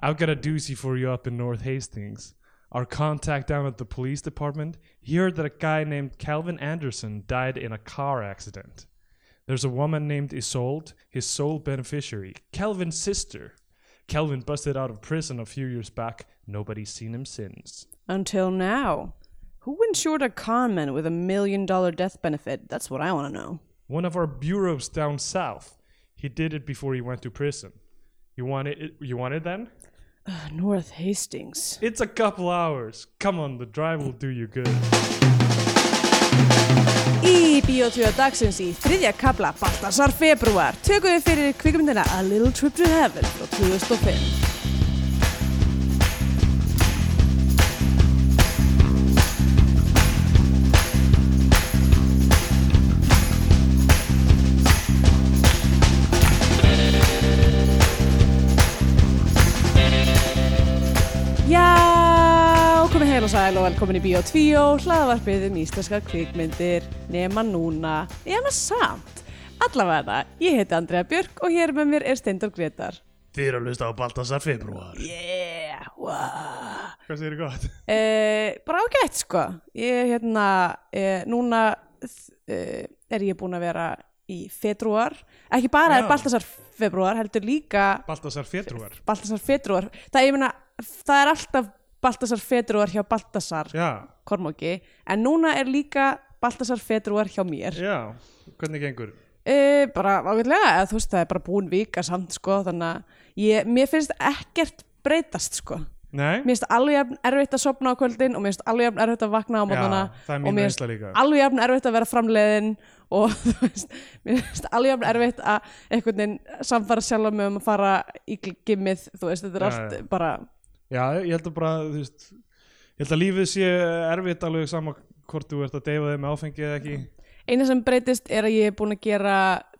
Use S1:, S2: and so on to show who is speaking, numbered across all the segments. S1: I've got a doozy for you up in North Hastings. Our contact down at the police department, he heard that a guy named Calvin Anderson died in a car accident. There's a woman named Isolde, his sole beneficiary, Calvin's sister. Calvin busted out of prison a few years back. Nobody's seen him since.
S2: Until now. Who insured a conman with a million dollar death benefit? That's what I want to know.
S1: One of our bureaus down south. He did it before he went to prison. You want it? You want it then?
S2: Uh, North Hastings.
S1: It's a couple hours. Come on, the drive will do you good.
S2: Í Bíotvíða dagsins í þriðja kapla Baltasar februar tökum við fyrir kvikmyndina A Little Trip to Heaven frá 2005. Já, komið heil og sæl og velkomin í Bíó 2, hlaðavarpið um íslenska kvikmyndir, nema núna, nema samt. Allavega, ég heiti Andrea Björk og hér með mér er Steindor Gretar.
S1: Þið eru að hlusta á Baltasar februar.
S2: Yeah, wow.
S1: Hvað segir þið gott?
S2: Eh, bara ágætt, sko. Ég, hérna, eh, núna eh, er ég búin að vera í februar. Ekki bara
S1: Já.
S2: er Baltasar februar, heldur líka
S1: Baltasar februar.
S2: Baltasar februar. Það, ég meina, það er alltaf Baltasar februar hjá Baltasar.
S1: Já,
S2: Kormáki en núna er líka Baltasar Fedruar hjá mér
S1: já. Hvernig gengur?
S2: e, bara ágætlega, eða þú veist það er bara búin vika samt sko þannig að ég, mér finnst ekkert breytast sko mér
S1: Nei?
S2: finnst alveg jafn erfitt að sopna á kvöldin og mér finnst alveg jafn erfitt að vakna á mótana
S1: það er
S2: og
S1: mín
S2: mér finnst
S1: reynsla líka.
S2: alveg jafn erfitt að vera framleiðin og þú veist, mér finnst alveg jafn erfitt að einhvern veginn samfara sjálf mig um að fara í gimmið, þú veist, þetta
S1: Já,
S2: er allt
S1: já.
S2: bara,
S1: Já, ég held að bara, þú veist, ég held að lífið sé erfitt alveg sama hvort þú ert að deyfa þig með áfengi eða ekki.
S2: eina sem breytist er að ég er búin að gera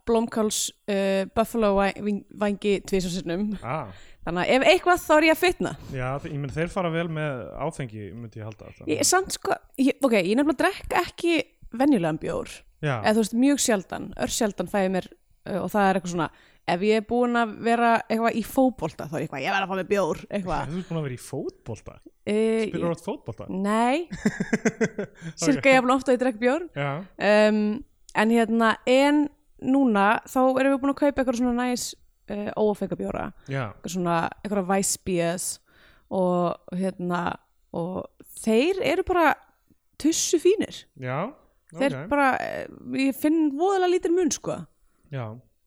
S2: blómkáls uh, buffalo væng- vangi tvísasinnum
S1: Ah,
S2: Þannig að ef eitthvað þá er ég að fitna
S1: já, þe- ég menn þeir fara vel með áfengi, myndi ég halda þetta.
S2: ég, Samt sko, ég, ok, ég nefnilega drekk ekki venjulegan bjór
S1: Já,
S2: eða þú veist mjög sjaldan, ör sjaldan fæði mér uh, og það er eitthvað svona ef ég er búin að vera eitthvað í fótbolta þá er ég eitthvað, ég verð að fá mér bjór eitthvað
S1: þú ert búin að vera í fótbolta.
S2: uh,
S1: Spilur
S2: ég,
S1: átt fótbolta?
S2: Nei, cirka ég ofta að ég drekk bjór
S1: Já,
S2: um, en hérna, en núna þá erum við búin að kaupa eitthvað svona næs uh, óafenga bjóra
S1: já,
S2: eitthvað svona, eitthvað væsbíðas og hérna og þeir eru bara tussu fínir
S1: já,
S2: þeir bara, eh, ég finn voðalega lítir mun sko
S1: Já,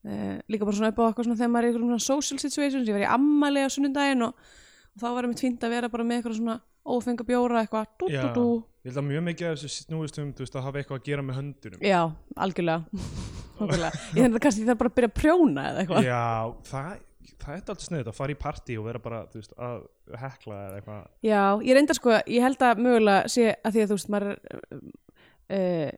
S2: eh, líka bara svona upp á eitthvað svona þegar maður er í einhverjum svona social situations, ég var í ammali á sunnudaginn og, og þá var mitt fínt að vera bara með eitthvað svona ófenga bjóra eitthvað dú,
S1: já.
S2: dú, dú.
S1: Ég held að mjög mikið af þessu snúist um, þú veist, að hafa eitthvað að gera með höndunum.
S2: já, algjörlega, algjörlega. ég þannig að kannski það bara að byrja að prjóna eða eitthvað
S1: Já, það, það er alltaf sniðið að fara í partí og vera bara, þú veist, að hekla eða eitthvað.
S2: Já, ég reyndar sko, ég held að mögulega sé að því að þú veist, maður er, uh,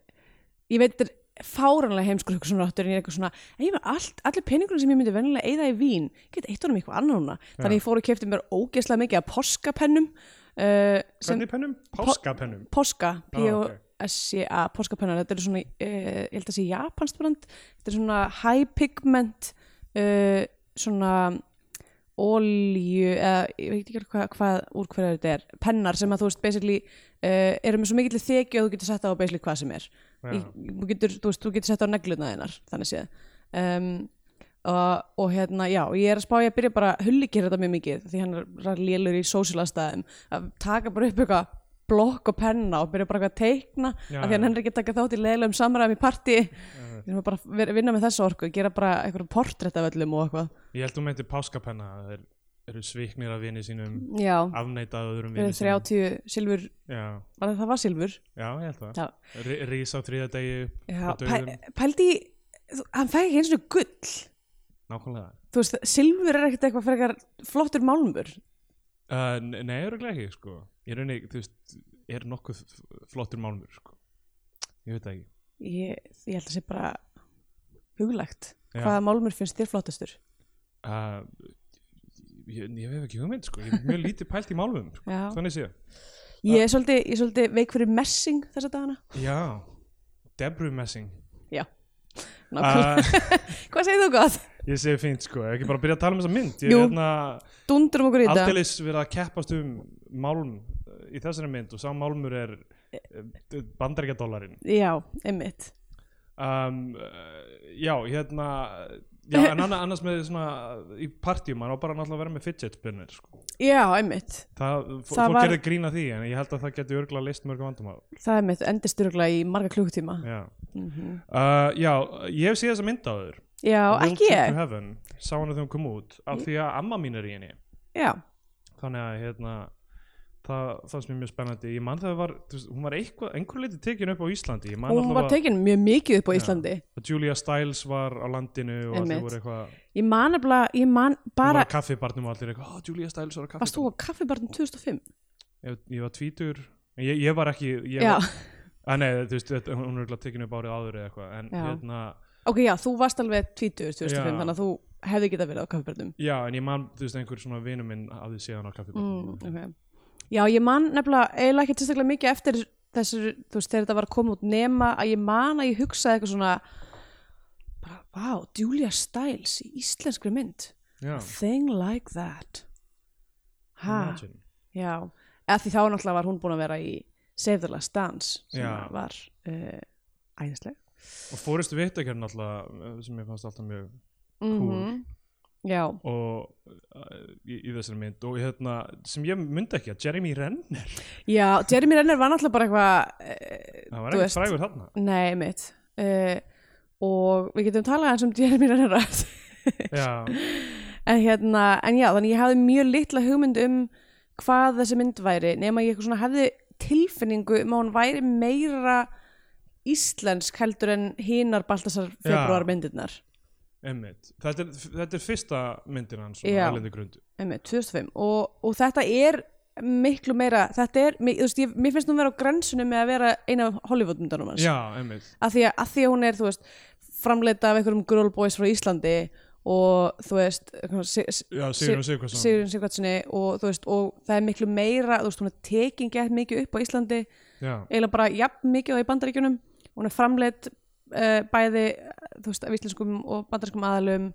S2: ég veit þetta er fáranlega heimskur hugsun ráttur en ég er eitthvað svona, en ég með allt, allir peningurinn sem ég myndi venjulega eigða í vín, ég get eitt honum í eitthvað annað núna, þannig að ég fór og kefti mér ógeðslega mikið af porskapennum uh, sem
S1: Hvernig pennum? Páskapennum.
S2: Poska,
S1: Ah, ok.
S2: P-O-S-C-A Poskapennar, þetta er svona uh, ég held að sé japanskt brand þetta er svona high pigment uh, svona olju, eða ég veit ekki alveg hvað, hvað úr hverju þetta er, pennar sem að þú veist basically uh, eru með svo mikill þekju að þú getur sett á basically hvað sem er
S1: Já.
S2: í, þú, getur, þú, veist, þú getur sett á negluna þinnar þannig séð um, og, og hérna, já, og ég er að spá ég að byrja bara hulli gerir þetta mjög mikið því hann er lélur í sósílastæðum að taka bara upp eitthvað blokk og penna og byrja bara eitthvað að teikna
S1: Já,
S2: af því
S1: já.
S2: hann er ekki að taka þátt í leiðilegum samræðum í partí við erum bara að vera- vinna með þessa orku gera bara eitthvað portrétt af öllum og eitthvað
S1: Ég held þú meinti páskapenna að þeir eru sviknir af vinið sínum,
S2: já,
S1: afneitað öðrum
S2: við
S1: vinið
S2: erum 30 silfur,
S1: Já,
S2: var það, það var silfur
S1: já, ég held það.
S2: já,
S1: Rí, rís á þriða degi
S2: já
S1: og
S2: pæ,
S1: döðum,
S2: pældi í- þú- hann fæk ekki eins og gull
S1: nákvæmlega.
S2: þú veist, silfur er ekkert eitthvað frekar flottur málmur
S1: Uh, n- nei, öruglega ekki, sko. Ég raunin, þú veist, er nokkuð f- flottur málmur, sko. Ég veit það ekki.
S2: ég, ég held að sé bara huglægt
S1: Já.
S2: hvaða málmur finnst þér flottastur
S1: Uh, ég, ég hef ekki hugmynd, sko. Ég hef mjög lítið pælt í málmum, sko.
S2: Já.
S1: Þannig séð.
S2: ég er svolítið, ég er svolítið veik fyrir messing þessa dagana
S1: Já, Debru messing.
S2: já, nákvæmlega
S1: Uh,
S2: hvað segir þú gott?
S1: ég segi fínt sko, ekki bara byrja að tala um þessa mynd ég
S2: Jú.
S1: er hérna
S2: Dundurum okkur í þetta
S1: aldeilis verið að keppast um málm eh, í þessari mynd og sá málmur er eh, bandaríkjadólarinn
S2: Já, einmitt
S1: um, eh, já, hérna já, en anna- annars með svona í partíum, hann á bara náttúrulega að vera með fidget spinner sko.
S2: Já, einmitt
S1: það, fó-
S2: Það
S1: fólk
S2: var-
S1: gerði grín að því en ég held að það geti örgulega leist mörgum vandamál
S2: Það er mitt endisturugla í marga klukkutíma
S1: já.
S2: mm
S1: Uh, já, ég hef séð þessa mynd á þur
S2: Já, ekki ég
S1: Heaven, sá hana þegar hún kom út af því að amma mín er í henni
S2: Já,
S1: þannig að hérna það fannst mér mjög spennandi ég man það var, þú veist, hún var eitthvað, einhver leiti tekin upp á Íslandi ég man
S2: hún var
S1: allavega
S2: tekin mjög mikið upp á
S1: Já.
S2: Íslandi
S1: að Julia Stiles var á landinu og
S2: Einmitt.
S1: allir voru eitthvað,
S2: Ég man nefnilega, ég man
S1: hún
S2: bara
S1: var á kaffibarnum og allir eitthvað, oh, Julia Stiles var á
S2: Varst þú
S1: kaffibarnum
S2: á kaffibarnum 2005?
S1: ég, ég var tvítur, en ég, ég var ekki ég
S2: Já,
S1: var, að nei, þú veist, þetta- hún er eitthvað tekin upp árið áður eða eitthvað en
S2: Já.
S1: hérna,
S2: ok, já, þú varst alveg 20 2005,
S1: Já.
S2: þannig að þú hefði getað verið á kaffibarnum
S1: já, en ég man þú veist, einhver svona vinur minn af því séðan á kaffibarnum
S2: mm, okay. Já, ég man nefnilega eiginlega ekki tilstaklega mikið eftir þessir, þú veist, þegar þetta var að koma út nema að ég man að ég hugsaði eitthvað svona bara, vá, Julia Stiles í íslenskri mynd
S1: já,
S2: Thing like that Ha,
S1: imagine
S2: já eða því þá náttúrulega var hún búin að vera í Save the Last Dance sem
S1: Já.
S2: var uh, æðisleg
S1: og fóristu vitt ekki hérna alltaf sem ég fannst alltaf mjög
S2: mm Já,
S1: og uh, í, í þessari mynd og hérna, sem ég myndi ekki að Jeremy Renner,
S2: já, Jeremy Renner var náttúrulega bara eitthvað eh,
S1: það var
S2: Þú
S1: ekkert
S2: veist.
S1: frægur þarna
S2: Nei, mitt uh, og við getum talað eins um Jeremy Renner
S1: já,
S2: en hérna, en já, þannig ég hafði mjög litla hugmynd um hvað þessi mynd væri nema ég eitthvað svona hefði tilfinningu um að hún væri meira íslensk heldur en hinar Baltasar februar myndirnar
S1: emmitt þetta, er- þetta er fyrsta myndin hans svona,
S2: Já.
S1: erlendi grundu.
S2: Einmitt, 2005 og, og þetta er miklu meira, þetta er, mi- þú veist, ég, mér finnst hún vera á grensunum með að vera eina af Hollywoodmyndunum hans
S1: já, emmitt
S2: að því að, að því að hún er, þú veist, framleita af einhverjum girl boys frá Íslandi og þú veist eitthvað si- si-
S1: já, Sigurinn Sigurðsson
S2: Sigurinn Sigvartssoni og þú veist, og það er miklu meira þú veist, hún er tekin gett mikið upp á Íslandi
S1: já,
S2: eiginlega bara jafn mikið og í bandaríkjunum hún er framleitt uh, bæði, þú veist, af íslenskum og bandarískum aðalum,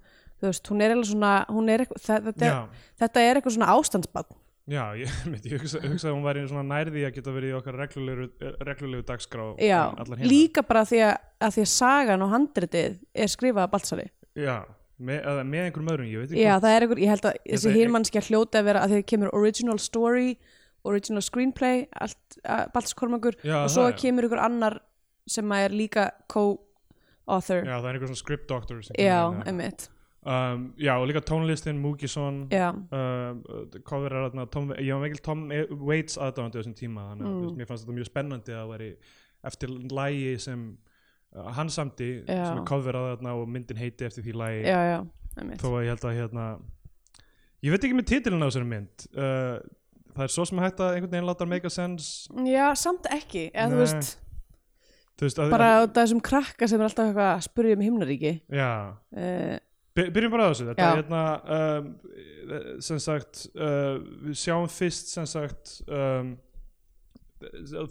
S2: þú veist, hún er eiginlega svona, hún er eitthvað, það- þetta,
S1: já,
S2: þetta er eitthvað svona ástandsbann
S1: já ég, einmitt, ég hugsa, hugsaði að hún væri svona nærði að geta verið í okkar reglulegu, reglulegu dagskrá um
S2: Já,
S1: en allar hinar.
S2: líka bara því að, að því að sagan og handritið er skrifað af Baltsari
S1: já, með, eða með einhverjum öðrum, ég veit ekki
S2: Já, það er einhver, ég held að þessi
S1: Þetta er-
S2: hýrmannskja hljóti að vera að því að kemur original story, original screenplay allt, Baltskormangur
S1: Já,
S2: og
S1: það
S2: svo
S1: er-
S2: kemur einhver annar sem að er líka co-author
S1: já, það er einhver svona script doctor sem
S2: Já,
S1: kemur hérna.
S2: einmitt
S1: um, já, og líka tónlistin, Múkisson
S2: Já,
S1: um, hvað verður þarna Tom, ég var mikil Tom Waits aðdáðandi á þessum tíma þannig að
S2: Mm.
S1: þú veist, mér fannst þetta mjög spennandi að það væri eftir lægi sem uh, hann samdi
S2: Já.
S1: sem er coverað þarna og myndin heiti eftir því lægi
S2: já, já, einmitt
S1: þó að ég held að hérna ég veit ekki með titilin á þessari mynd uh, það er svo sem hægt að einhvern veginn láta hann make a sense
S2: Já, samt ekki, eða þú
S1: Nei.
S2: veist
S1: þú veist að,
S2: bara út af þessum krakka sem er alltaf eitthvað að spurja um himnaríki
S1: að já
S2: uh,
S1: By- Byrjum bara á þessu, þetta
S2: Já.
S1: er hérna um, sem sagt uh, við sjáum fyrst sem sagt um,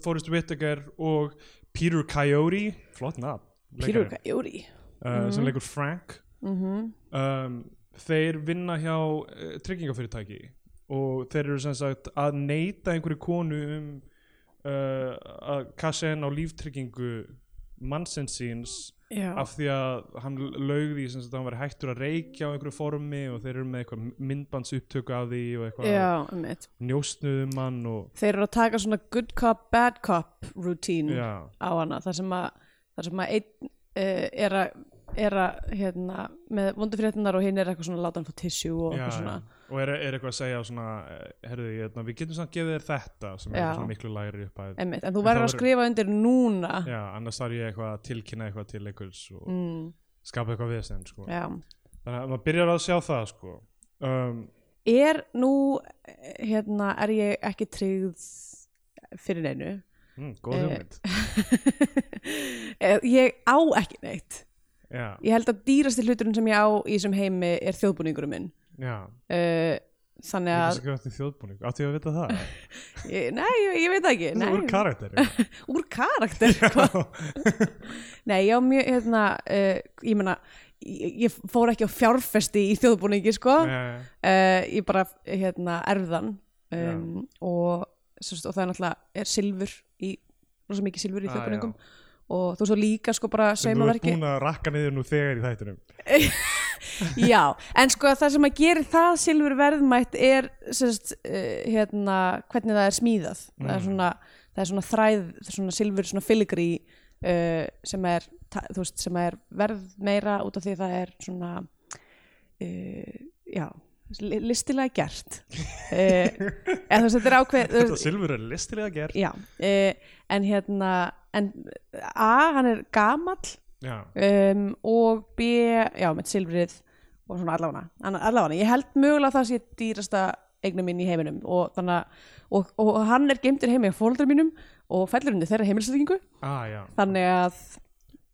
S1: Forrest Whitaker og Peter Coyote flott nafn,
S2: Pírur,
S1: leikari,
S2: júri
S1: uh,
S2: Mhm.
S1: sem leikur Frank
S2: mm
S1: um, þeir vinna hjá uh, tryggingafyrirtæki og þeir eru sem sagt að neyta einhverju konu um uh, að kassa henn á líftryggingu mannsins síns
S2: Já,
S1: af því að hann laugði sem sagt að hann var hættur að reykja á einhverju formi og þeir eru með eitthvað myndbands upptöku af því og eitthvað
S2: já, einmitt
S1: njóstnuðum mann og
S2: þeir eru að taka svona good cop, bad cop routine
S1: já,
S2: á hana þar sem að, þar sem að einn uh, er að, er að hérna, með vondufréttinar og hinn er eitthvað svona að láta hann fá tissue og
S1: já,
S2: eitthvað svona
S1: og er, er eitthvað að segja svona, eh, heyrðu, hérna, við getum samt gefið þér þetta sem er
S2: Já.
S1: svona miklu lægri upphæð
S2: einmitt, en þú
S1: En það
S2: verður að
S1: verður-
S2: skrifa undir núna
S1: já, annars þarf ég eitthvað að tilkynna eitthvað til einhvers og
S2: mm,
S1: skapa eitthvað vesen sko.
S2: já.
S1: þannig að maður byrjar að sjá það sko. um,
S2: er nú eh, hérna, er ég ekki tryggð fyrir neinu
S1: mm, góð
S2: Eh.
S1: hugmynd
S2: Eh, ég á ekki neitt
S1: já,
S2: ég held að dýrasti hluturinn sem ég á í þessum heimi er þjóðbúningurum minn
S1: já,
S2: uh, þannig
S1: ég
S2: að
S1: veist ekki átti þjóðbúning átti ég að vita það,
S2: Ég- Nei, ég, ég veit það ekki
S1: það
S2: nei,
S1: er úr karakter
S2: úr karakter sko. Nei, já, mjög, hérna uh, ég meina, ég, ég fór ekki á fjárfesti í þjóðbúningi sko
S1: Nei,
S2: uh, ég bara hérna erðan um, og, sérst, og það er náttúrulega er silfur í, rosa mikið silfur í
S1: Ah,
S2: þjóðbúningum og þú svo líka sko bara
S1: sem þú ert
S2: saumaverki
S1: búin að rakka niður nú þegar í þættinum
S2: Já, en sko það sem að gera það silfur verðmætt er sérst, uh, hérna, hvernig það er smíðað það, er
S1: Mm.
S2: svona, það er svona þræð það er svona silfur, svona filigri uh, sem, er, ta- þú veist, sem er verð meira út af því að það er svona uh, já li- listilega gert uh, eða þú veist, þetta er ákveð þú veist,
S1: þetta silfur er listilega gert
S2: já, uh, en hérna en A, hann er gamall
S1: já,
S2: um, og B, já, með silfrið og svona allafana, Anna- allafana. ég held mögulega að það sé dýrasta eignum minn í heiminum og, þannig, að- og, og hann er geimtur heimi á fóreldrar mínum og fellur undir þeirra heimilslýkingu
S1: ah, já.
S2: þannig að,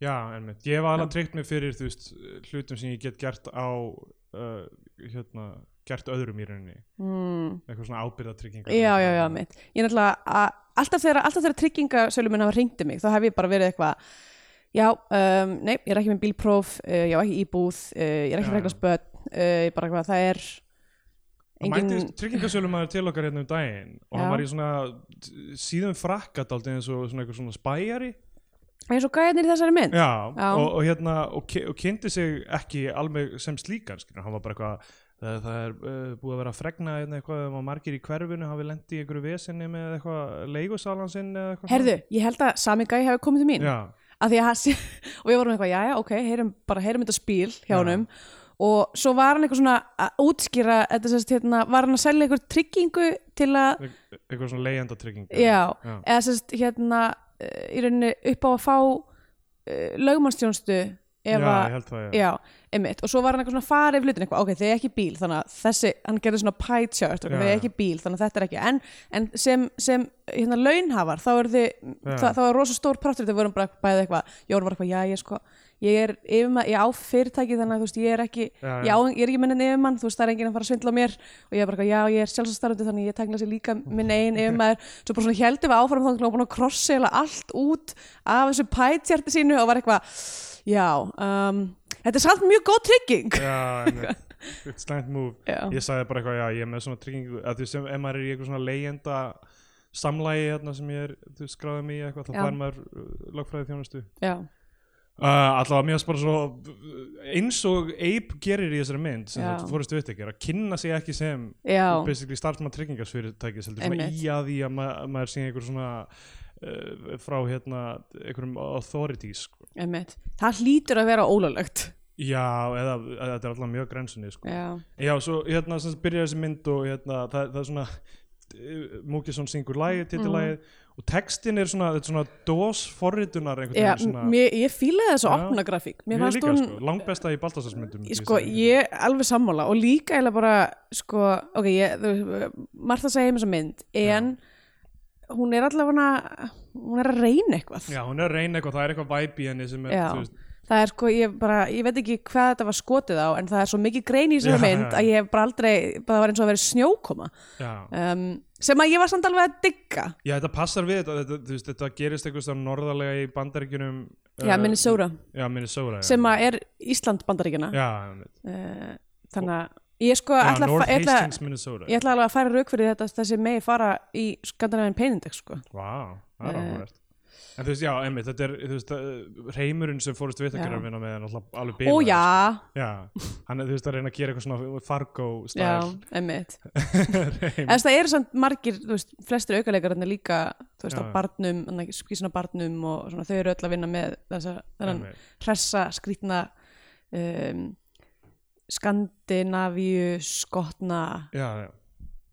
S1: Já, en ég hef alveg tryggt mig fyrir þú veist, hlutum sem ég get gert á uh, hérna, gert öðrum í rauninni
S2: mm,
S1: eitthvað svona ábyrðatryggingar
S2: já, já, já, mitt ég náttúrulega, að, alltaf þeirra, alltaf þeirra tryggingasölu minn hafa ringdi mig, þá hef ég bara verið eitthvað já, um, nei, ég er ekki með bílpróf uh, ég er ekki íbúð, uh, ég er ekki
S1: Já,
S2: með reglast börn, uh, ég bara eitthvað, það er
S1: Það mætti tryggingasölumæður til okkar hérna um daginn og hann
S2: Já.
S1: var í svona t- síðum frakkat aldrei eins og svona eitthvað svona spæjari
S2: eins og gæðnir í þessari mynd
S1: Já,
S2: Já.
S1: Og, og hérna og, ki- og kynnti sig ekki alveg sem slíkan skilur, hann var bara eitthvað það, það er uh, búið að vera að fregna hérna eitthvað um að margir í hverfinu hafi lendi í einhverju vesinni með eitthvað leigusalan sinn eða eitthvað svona.
S2: Herðu, ég held að sami gæi hefur komið til mín
S1: Mhm. Já,
S2: að að hann, sé- og ég var um eitthvað, jæja, ok, heyrum, bara heyrum þetta spíl hjá
S1: Já.
S2: honum og svo var hann eitthvað svona að útskýra þetta sérst, hérna, var hann að selja eitthvað tryggingu til að,
S1: e- eitthvað svona leigendatrygging
S2: já,
S1: Já.
S2: eða sérst, hérna eh, í rauninni upp á að fá uh, lögumannstjónstu
S1: Já,
S2: ef
S1: ég
S2: að
S1: held það, já,
S2: Já, einmitt, og svo var hann eitthvað svona að fara yfir hlutin eitthvað, ok, þið er ekki bíl, þannig að þessi hann gerði svona pie chart, ok,
S1: Já,
S2: þið er
S1: já.
S2: ekki bíl þannig að þetta er ekki, en, en sem, sem hérna launhafar, þá er þið
S1: Já.
S2: það, það var rosa stór partur, þau vorum bara bæðið eitthvað Jón var eitthvað, já, ég sko ég er yfirmann, ég á fyrirtæki þannig að þú veist, ég er ekki
S1: Já, já.
S2: ég, á, ég er ekki minn en yfirmann, þú veist, það er enginn að fara að svindla á mér og ég er bara eitthvað, já, ég er sjálfsastarfandi þannig að ég tækla sér líka minn eigin yfirmaður svo bara svona heldum við áfram þannig að hún var búin að krossi allt út af þessu pætjarti sínu og var eitthvað, já um, þetta er samt mjög góð trygging
S1: Já, einmitt. It's slant move
S2: Já.
S1: Ég sagði bara eitthvað, já, ég er með svona tryggingu að þú sem, ef maður er í eitthvað svona leyenda samlægi hérna sem ég er þú skráði mig í eitthvað, þá
S2: Já.
S1: fær maður uh, lögfræði þjónustu uh,
S2: já,
S1: Allavega, mér er bara svo eins og Abe gerir í þessari mynd sem
S2: Já.
S1: þú fórist við ekki, er að kynna sig ekki sem
S2: já,
S1: basically starfsmann tryggingasfyrirtækis heldur svona
S2: Einmitt.
S1: í að því að ma maður sé einhver svona uh, frá hérna einhverjum authorities sko.
S2: einmitt það hlýtur að vera ólöglegt
S1: Já, eða eða þetta er alltaf mjög grensunni sko.
S2: já,
S1: Já, svo hérna sem sagt byrjar þessi mynd og hérna það, það er svona eh, Múkisson syngur lagið, titilagið og textin er svona, þetta er svona dós forritunar einhvern
S2: Mhm. já
S1: veginn svona
S2: mér, ég fílaði þessu
S1: Já.
S2: opnagrafík mér
S1: Mér
S2: fannst
S1: líka,
S2: hún
S1: sko, langbesta í Baltasarsmyndum
S2: sko, ég alveg sammála og líka eiginlega bara, sko, ok, ég, þú, Martha segir mér þessa mynd, en hún er allavega hún er að reyna eitthvað
S1: Já, hún er að reyna eitthvað, það er eitthvað væp í henni sem er,
S2: Já.
S1: þú veist,
S2: það er sko, ég bara, ég veit ekki hvað þetta var skotið á, en það er svo mikið grein í þessari
S1: Já,
S2: mynd
S1: já.
S2: að ég hef bara aldrei, bara það var eins og að vera snjókoma
S1: já
S2: um, sem að ég var samt alveg að digga
S1: Já, þetta passar við þetta, þetta, þú veist, þetta gerist eitthvað svona norðarlega í bandaríkjunum
S2: já,
S1: eh,
S2: minni Sóra,
S1: Já, Minnesota já.
S2: sem að er Ísland bandaríkina
S1: Já, einmitt.
S2: uh, þannig að ég sko
S1: já
S2: ætla, að
S1: North
S2: fa- ég ætla,
S1: Hastings, Minnesota
S2: ég ætla alveg að færa rauk fyrir þetta þessi megi fara í skandinavíðan peinindex sko
S1: Vá, það er
S2: Eh.
S1: áhugavert En þú veist, já, emmitt, þetta er, þú veist, uh, reymurinn sem fórist við
S2: Já.
S1: að vinna með hann alltaf alveg
S2: Ó
S1: bílaður.
S2: já,
S1: Já, hann er, þú veist, að reyna að gera eitthvað svona
S2: já,
S1: Fargo-stæl.
S2: emmitt En það eru samt margir, þú veist, flestir aukalegararnir líka, þú veist,
S1: Já,
S2: á
S1: já.
S2: barnum skvísina barnum og svona, þau eru öll að vinna með þessa, þennan hressa skrýtna um, Skandinavíu skotna
S1: Já, já.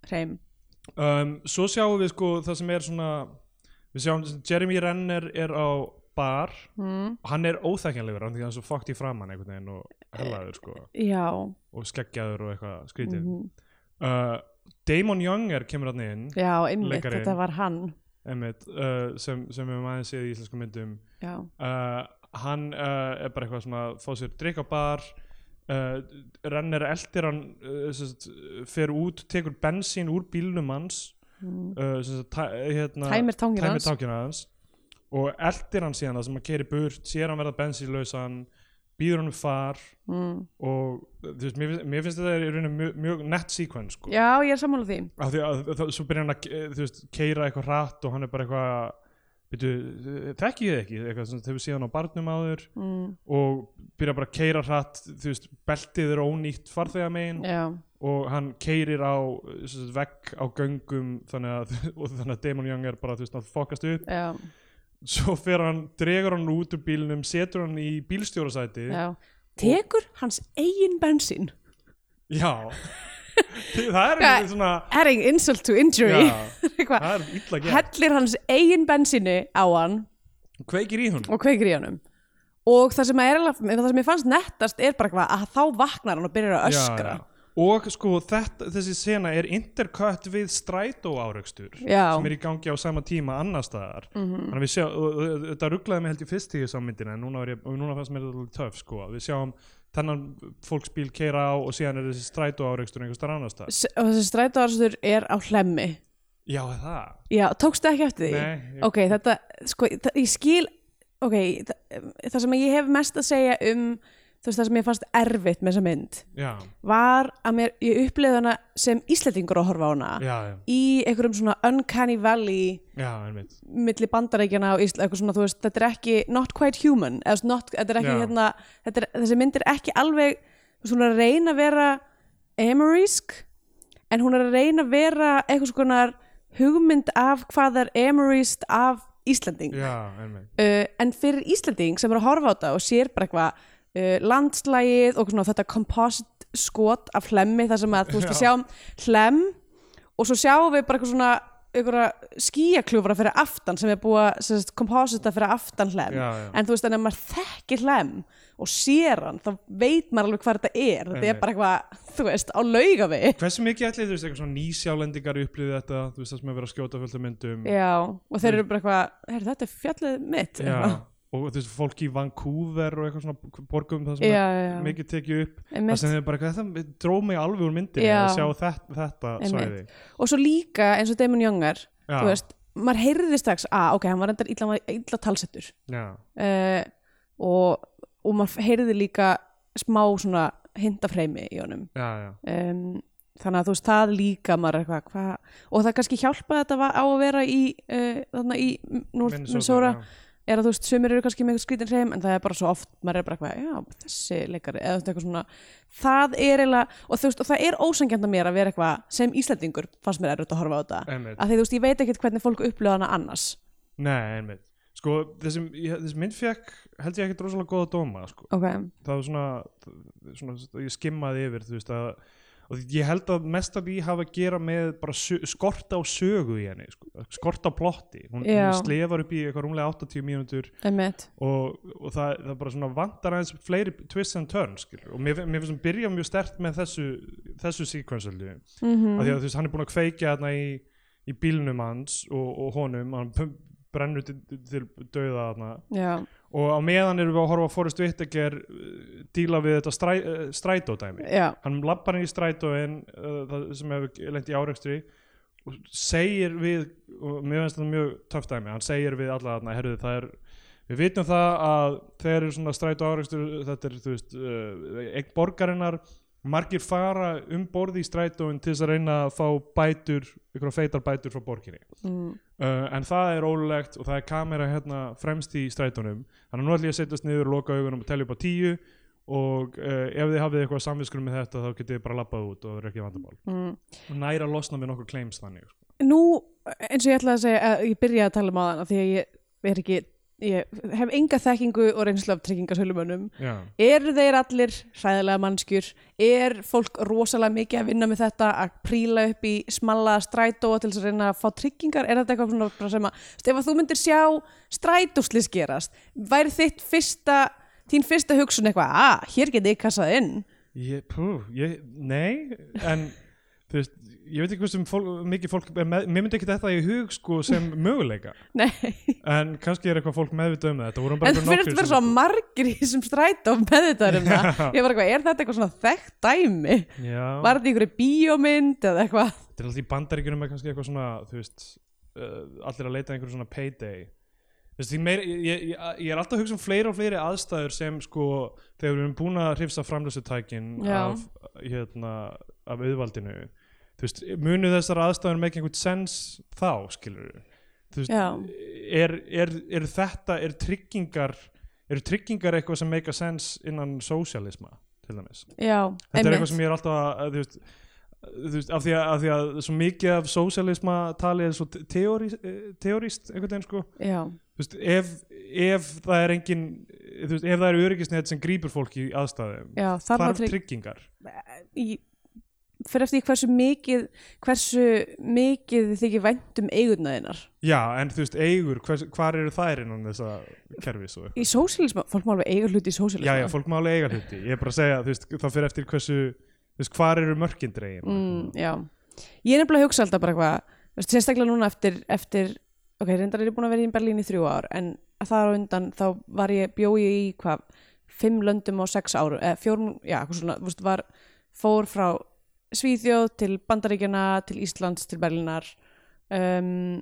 S2: hreim
S1: Um, svo sjáum við sko það sem er svona, við sjáum Jeremy Renner er á bar,
S2: mm.
S1: hann er óþekkjanlegur, hann er svo fokkt í framann einhvern veginn og hellaður sko
S2: Já
S1: og skeggjaður og eitthvað skrítið.
S2: mhm.
S1: uh, Damon Younger kemur hann inn,
S2: Já, einmitt,
S1: Leikarinn.
S2: þetta var hann
S1: emmitt, uh, sem, sem við maður séð í íslensku myndum.
S2: Já,
S1: uh, hann uh, er bara eitthvað svona að fá sér drikk á bar uh, renner eldir hann uh, sem sagt, fer út, tekur bensín úr bílnum hans
S2: mm.
S1: uh, sem sagt, tæ, hérna,
S2: tæmir tangir
S1: tæmir
S2: hans
S1: tákina hans og eldir hann síðan það sem hann keri burt, sér hann verða bensínlausan býður honum far
S2: mm.
S1: og þú veist, mér, finnst- mér finnst þetta er í rauninni mjög, mjög nett sequence sko.
S2: já, ég er sammála því
S1: af því að þá- svo byrjar hann að eh, þú veist, keira eitthvað hratt og hann er bara eitthvað byrju, eh, þekki ég þig ekki eitthvað sem þau síðan á barnum áður
S2: mm.
S1: og byrja bara að keira hratt þú veist, beltið er ónýtt farþega megin
S2: já,
S1: og hann keirir á eh, sem sagt, vegg á göngum þannig að, og þannig að Damon Young er bara þú veist, að fokast upp
S2: já,
S1: svo fer hann, dregur hann út úr bílnum setur hann í bílstjórasæti
S2: já tekur hans eigin bensín
S1: Já. það er
S2: Hvað-
S1: einhvern svona
S2: adding insult to injury
S1: já,
S2: Eitthvað.
S1: það er illa gert
S2: hellir hans eigin bensínu á hann
S1: kveikir í hún
S2: og kveikir í honum og það sem, er, alveg- það sem ég fannst nettast er bara hvað að þá vaknar hann og byrjar að öskra
S1: og sko þetta, þessi sena er intercut við strætó áraugstur
S2: Já. Mhm.
S1: sem er í gangi á sama tíma annar staðar -hmm. þannig að við sjá, og- og- og þetta rugglaði mig held í fyrst tíu sammyndina en núna, var ég, og núna fannst mér þetta alveg töf sko. við sjáum þennan fólksbíl keira á og síðan er þessi strætó áraugstur einhvers staðar annar staðar
S2: S- og þessi strætóarstur er á hlemmi
S1: já það
S2: já, tókstu ekki eftir því?
S1: Nei, ég-
S2: ok, þetta, sko, þa- ég skil ok, það, það sem ég hef mest að segja um þú veist, það sem ég fannst erfitt með þessa mynd
S1: já,
S2: var að mér, ég upplifði hana sem Íslendingur að horfa á hana
S1: já, já,
S2: í einhverjum svona uncanny valley
S1: já, einmitt
S2: milli bandarækjana og Ísla, eitthvað svona, þú veist, þetta er ekki not quite human, eða svona not, þetta er ekki
S1: Já.
S2: hérna, þetta er, þessi mynd er ekki alveg þú veist, hún er að reyna að vera amorísk, en hún er að reyna að vera eitthvað svona hugmynd af hvað er amoríst af Íslanding
S1: já, einmitt
S2: uh, en fyrir Íslanding sem er að horfa á þetta og sér bara eitthvað uh, landslægið og svona þetta composite skot af hlemmi þar sem að þú veist við
S1: Já.
S2: sjáum hlem og svo sjáum við bara eitthvað svona einhverja skíakljúfra fyrir aftan sem er búið að sem sagt, komposita fyrir aftan hlem
S1: Já, já.
S2: en þú veist en ef maður þekkir hlem og sér hann þá veit maður alveg hvað þetta er þetta
S1: Einmitt.
S2: er bara eitthvað þú veist á lauga við
S1: Hversu mikið ætlið, þú veist, eitthvað svona nýsjálendingar upplýði þetta, þú veist, það sem er verið að skjóta fullt af myndum.
S2: já og þeir eru bara eitthvað "Heyrðu, þetta er fjallið mitt eitthvað.
S1: Og þú veist, fólk í Vancouver og eitthvað svona borgum það sem
S2: Já,
S1: er
S2: já.
S1: mikið tekið upp.
S2: Einmitt.
S1: Það sem er bara eitthvað, þetta dró mig alveg úr myndinni
S2: Já.
S1: að sjá þetta, þetta svæði.
S2: Einmitt. og svo líka eins og Damon Youngar
S1: Já.
S2: þú veist, maður heyrði strax að ok, hann var endar illa, hann var illa talsettur
S1: Já,
S2: uh, og, og maður heyrði líka smá svona hindafreimi í honum
S1: já, já.
S2: um, þannig að þú veist, það líka maður er eitthvað, hvað, og það kannski hjálpa að þetta var á að vera í uh, þarna í North
S1: Minnesota,
S2: Minnesota
S1: já.
S2: er að þú veist, sömur eru kannski með eitthvað skrítin hreim en það er bara svo oft, maður er bara eitthvað já, þessi leikari, eða þú veist, eitthvað svona það er eiginlega, og þú veist, og það er ósangjandi að mér að vera eitthvað sem Íslandingur fannst mér erut að horfa á þetta
S1: Einmitt.
S2: að því þú veist, ég veit ekkert hvernig fólk upplöða hana annars
S1: Nei, einmitt. Sko, þessi, ég- þessi mynd fekk, held ég ekki rosalega góða dóma, sko.
S2: ok,
S1: það var svona, svona ég skimmaði yfir þú veist að og ég held að mest af því hafa að gera með bara su- skort á sögu í henni sko, skort á plotti, hún,
S2: Já.
S1: hún slefar upp í eitthvað rúmlega 80 mínútur
S2: emmitt
S1: og, og það, það bara svona vantar aðeins fleiri twists and turns skilur. og mér, mér finnst hann byrja mjög stert með þessu þessu sequensaldi mm
S2: Mhm.
S1: -hmm. af því að þú veist hann er búin að kveikja þarna í, í bílnum hans og, og honum hann pum- brennur til, til dauða þarna
S2: já,
S1: og á meðan erum við að horfa að Forrest Whitaker uh, díla við þetta stræ, uh, strætódæmi
S2: já,
S1: hann lappar inn í strætóin uh, það sem hefur lent í árekstri og segir við og mér finnst þetta mjög töff dæmi hann segir við alla þarna, herruðu það er við vitum það að þegar eru svona strætó árekstur þetta er þú veist uh, eign borgarinnar margir fara um borði í strætóin til þess að reyna að fá bætur ykkur feitar bætur frá borginni
S2: mm,
S1: Uh, en það er ólulegt og það er kamera hérna fremst í strætónum þannig að nú ætlum ég að setjast niður, loka augunum og telja upp á tíu og uh, ef þið hafið eitthvað samviskunum með þetta þá getið þið bara labbað út og það er ekki vandamál
S2: mm.
S1: og næra að losna með nokkuð claims þannig sko.
S2: nú, eins og ég ætlaði að segja að ég byrjaði að tala um á þann því að ég er ekki ég hef enga þekkingu og reynslu af tryggingasölumönnum
S1: já,
S2: eru þeir allir hræðilega mannskjur er fólk rosalega mikið að vinna með þetta að príla upp í smalla strætóa til þess að reyna að fá tryggingar er þetta eitthvað svona bara sem að þú veist, ef að þú myndir sjá strætóslis gerast væri þitt fyrsta þín fyrsta hugsun eitthvað að hér getið ég kassað inn
S1: ég, pú, ég, nei en þú veist, ég veit ekki hversu fólk, mikið fólk er með, mér myndi ekki þetta í hug sko sem möguleika
S2: Nei.
S1: en kannski er eitthvað fólk meðvitað um það þetta voru bara
S2: en þú
S1: einhver
S2: fyrir
S1: nokkrir
S2: að vera
S1: sem-
S2: svo margir í þessum strætó með þetta um það
S1: Já.
S2: ég var eitthvað, er þetta eitthvað svona þekkt dæmi
S1: Já.
S2: var þetta í einhverju bíómynd eða eitthvað
S1: þetta er alltaf í bandaríkjunum með kannski eitthvað svona þú veist, uh, allir að leita að einhverju svona payday Þú veist, því meir, ég, ég, ég er alltaf að hugsa um fleiri og fleiri aðstæður sem sko þegar við erum búin að hrifsa framlösutækin
S2: Já.
S1: af, hérna, af auðvaldinu þú veist, munu þessar aðstæður með einhvern sens þá, skilur þú veist,
S2: Já.
S1: er, er, er þetta, er tryggingar eru tryggingar eitthvað sem make a sense innan sósialisma, til dæmis
S2: já,
S1: þetta er eitthvað sem ég er alltaf að, að þú veist Þú veist, af, því að, af því að svo mikið af sósialisma talið er svo teóri- eh, teóríst einhvern veginn sko
S2: já,
S1: þú veist, ef, ef það er engin þú veist, ef það eru öryggisnett sem grýpur fólk í aðstæðum
S2: já, þarf að
S1: þarf
S2: trygg
S1: tryggingar
S2: í- fyrir eftir því hversu mikið hversu mikið þið þykir um væntum eigunnaðinnar
S1: já, en þú veist, eigur, hvers, hvar eru þær innan þessa kerfis og eitthvað
S2: í sósílisma, fólk má alveg eiga hluti í sósílisma
S1: já, já, fólk má alveg eiga hluti, ég er bara að segja þú veist, það fyrir eftir hversu þú veist, hvar eru mörkindregin
S2: mm, já. ég er nefnilega að hugsa alltaf bara eitthvað þú veist, sérstaklega núna eftir, eftir ok, reyndar er ég búin að vera í Berlín í þrjú ár en þar á undan þá var ég bjói í hvað, fimm löndum á sex árum, eða fjórum, já, hvað svona þú veist, var, fór frá Svíþjóð til Bandaríkjana, til Íslands til Berlínar um,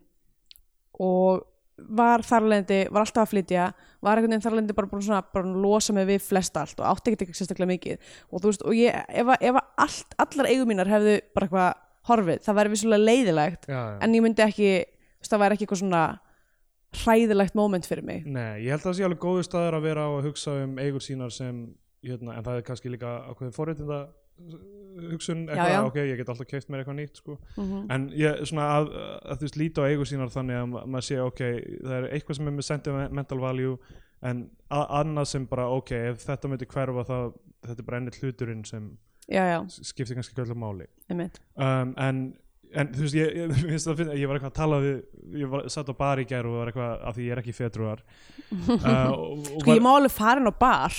S2: og var þarlendi, var alltaf að flytja var einhvern veginn þarlendi bara búin svona bara að losa mig við flest allt og átti ekkert ekki sérstaklega mikið og þú veist, og ég, ef, að- ef að allt, allar eigum mínar hefðu bara eitthvað horfið, það væri vissulega leiðilegt
S1: já, já.
S2: en ég myndi ekki, þú veist, það væri ekki eitthvað svona hræðilegt moment fyrir mig
S1: Nei, ég held að það sé alveg góðu staður að vera á að hugsa um eigur sínar sem hérna, en það er kannski líka ákveðin forréttinda uh, hugsun, eitthvað,
S2: já. Mm.
S1: ok, ég get alltaf keift mér eitthvað nýtt, sko
S2: Mhm.
S1: en ég, svona að, að þú veist, líta á eigur sínar þannig að ma- maður sé, ok, það er eitthvað sem er með sentimental value en a- annað sem bara, ok, ef þetta myndi hverfa þá, þetta er bara ennir hluturinn sem
S2: já, já,
S1: s- skiptir kannski ekki öllu máli
S2: einmitt
S1: um, en, en þú veist ég, ég, mér finnst það að finna, ég var eitthvað að tala við ég var, satt á bar í gær og var eitthvað af því ég er ekki fetruar uh, og, og
S2: sko, ég
S1: var,
S2: má alveg farin á bar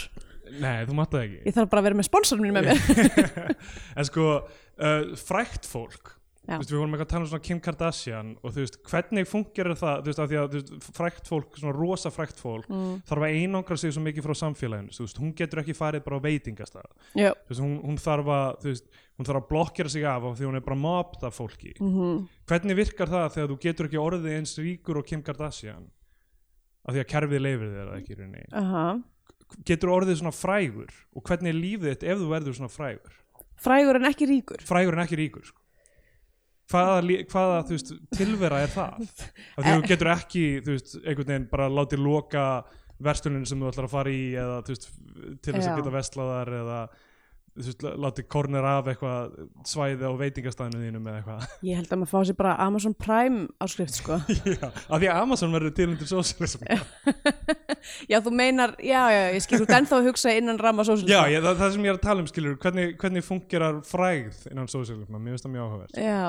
S1: nei, þú matta það ekki
S2: ég þarf bara að vera með sponsorinn mín með mér
S1: en sko, uh, frækt fólk Þú
S2: Já.
S1: veist, við vorum eitthvað að tala um svona Kim Kardashian og þú veist, hvernig fungerir það þú veist, af því að þú veist, frækt fólk, svona rosa frækt fólk
S2: Mm.
S1: þarf að einangra sig svo mikið frá samfélaginu þú veist, hún getur ekki farið bara á veitingastað þú
S2: já,
S1: veist, hún, hún þarf að þú veist, hún þarf að blokkera sig af af því hún er bara mobbed af fólki
S2: mhm,
S1: hvernig virkar það þegar þú getur ekki orðið eins ríkur og Kim Kardashian af því að kerfið leifir þér það ekki í rauninni
S2: aha
S1: getur orðið svona frægur og hvernig er lífið þitt ef þú verður svona frægur
S2: frægur en ekki ríkur
S1: frægur en ekki ríkur sko. hvaða, lí- hvaða þú veist, tilvera er það af því að þú getur ekki þú veist, einhvern veginn bara látið loka verslunin sem þú ætlar að fara í eða þú veist, til þess
S2: Já.
S1: að geta veslaðar eða þú veist, látið korner af eitthvað svæði á veitingastæðinu þínum eða eitthvað
S2: ég held að maður fá sér bara Amazon Prime áskrift sko
S1: Já, af því að Amazon verður til undir sósialism
S2: já, þú meinar, já, já, ég skil þú ert ennþá að hugsa innan ramma sósílisma
S1: Já, ég, það, það sem ég er að tala um skilur hvernig, hvernig fungerar frægð innan sósialism mér finnst það mjög áhugavert
S2: Já,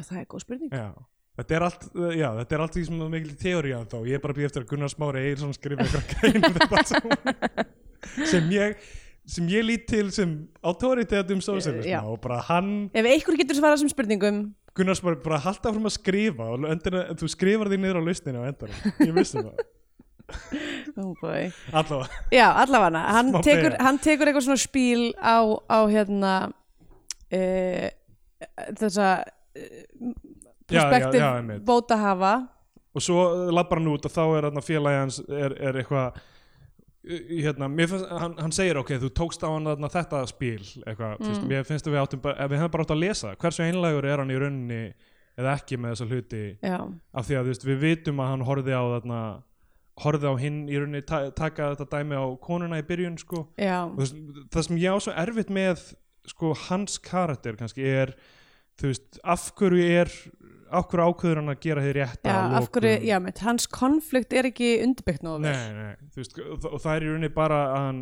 S2: já það er góð spurning
S1: já. Þetta, er allt, já, þetta er allt því sem það er mikil teóri að þá ég er bara að býja eftir að Gunnar Smári Egilson skrifa eitthvað grein um þetta allt saman. sem ég sem ég lít til sem autoritet um
S2: Já.
S1: sósialism og bara hann
S2: Ef einhver getur svarað sem spurningum
S1: Gunnar Smári bara halda fram að skrifa og endina, þú skrifar því niður á lausninu á endanum ég vissi það,
S2: oh boy.
S1: allavega
S2: Já, allavega hann,
S1: Smá
S2: tekur-
S1: beygja.
S2: hann tekur eitthvað svona spíl á, á hérna uh, þessa
S1: Já, já,
S2: perspektiv
S1: já, einmitt.
S2: bótahafa
S1: og svo eh, labbar hann út og þá er hann félagi hans er, er eitthvað uh, hérna, mér finnst, hann, hann segir ok, þú tókst á hann þarna þetta spil eitthvað, mm. veist, mér finnst að við áttum bara, ef við hefum bara átt að lesa það. hversu einlægur er hann í rauninni eða ekki með þessa hluti
S2: Já,
S1: af því að þú veist, við vitum að hann horfði á þarna horfði á hinn í rauninni ta taka þetta dæmi á konuna í byrjun sko.
S2: já,
S1: Og þú veist, það sem ég á svo erfitt með sko, hans karakter kannski er þú veist, af hverju er af hverju ákveður hann að gera þið rétt
S2: já af hverju já, mitt, hans konflikt er ekki undirbyggt nóg vel.
S1: Nei, nei, þú veist, og þa- og það er í rauninni bara að hann,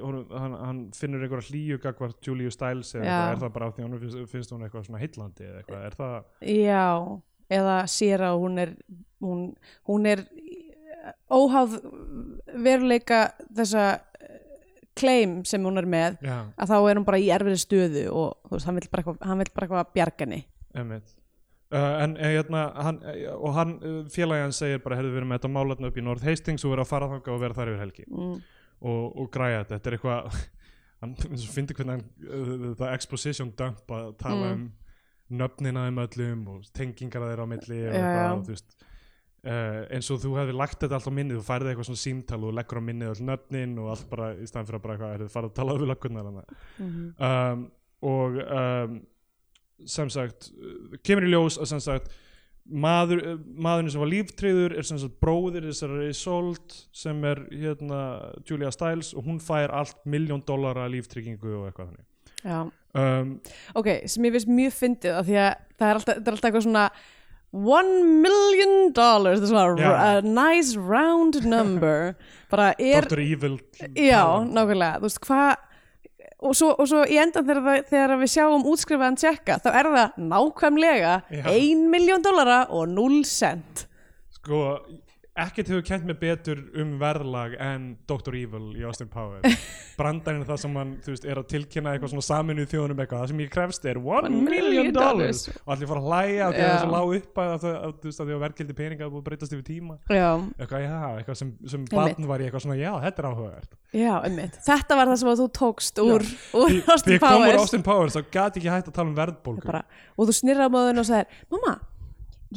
S1: honum- hann, hann finnur einhverja hlýju gagvart Julius Stiles eða
S2: Já.
S1: eitthvað, er það bara af því að honum finnst, finnst hún eitthvað svona heillandi eða eitthvað, er það
S2: Já, eða sér að hún er hún, hún er óháð veruleika þessa eh, claim sem hún er með
S1: Já,
S2: að þá er hún bara í erfiði stöðu og þú veist, hann vill bara eitthvað, hann vill bara eitthvað bjargani
S1: emmitt Uh, en eh, hérna, hann, eh, og hann félagi hann segir bara, heyrðu, við erum með þetta málarni upp í North Hastings og við erum að fara þangað og vera þar yfir helgi
S2: mm.
S1: og, og græja þetta, þetta er eitthvað hann finnir hvernig hann uh, það exposition dump að tala
S2: Mm.
S1: um nöfnin að þeim öllum og tengingar þeirra á milli og
S2: Já, já.
S1: eitthvað, og þú veist uh, eins og þú hefði lagt þetta allt á minnið þú færði eitthvað svona símtal og þú leggur á minnið öll nöfnin og allt bara í staðan fyrir að bara eitthvað "Heyrðu, farðu að tala við löggunar hana
S2: Mhm.
S1: um, og um, sem sagt uh, kemur í ljós að sem sagt maður, uh, maðurinn sem var líftryður er sem sagt bróðir þessari Isolt sem er hérna Julia Stiles og hún fær allt miljón dollara líftryggingu og eitthvað þannig
S2: Já.
S1: um,
S2: ok, sem ég veist mjög fyndið af því að það er alltaf, þetta er alltaf eitthvað svona one million dollars þetta er svona
S1: Já.
S2: a nice round number bara er
S1: Dr. Evil
S2: já,
S1: talent.
S2: nákvæmlega, þú veist hvað og svo, og svo í endan þegar, það, þegar við sjáum útskrifaðan tjekka, þá er það nákvæmlega
S1: Já.
S2: 1 miljón dollara og 0 cent
S1: sko ekkert hefur kent mig betur um verðlag en Dr. Evil í Austin Power brandarinn er það sem hann þú veist, er að tilkynna eitthvað svona saminu í þjóðunum eitthvað það sem ég krefst er 1
S2: One
S1: million
S2: million
S1: dollars
S2: dollars.
S1: og allir fara að hlæja af því að það er
S2: Já.
S1: svo lág upp að það að, þú veist, að því að verkildi peninga búið að breytast yfir tíma
S2: já,
S1: eitthvað, já, eitthvað sem, sem barn var í eitthvað svona já, þetta er áhugavert
S2: já, einmitt þetta var það sem að þú tókst úr, úr
S1: Því- því
S2: Austin
S1: ég kom úr
S2: Powers
S1: Austin Powers þá gat ég ekki hægt að tala um verðbólgu
S2: bara, og þú snirraði á móðun og sagðir mamma,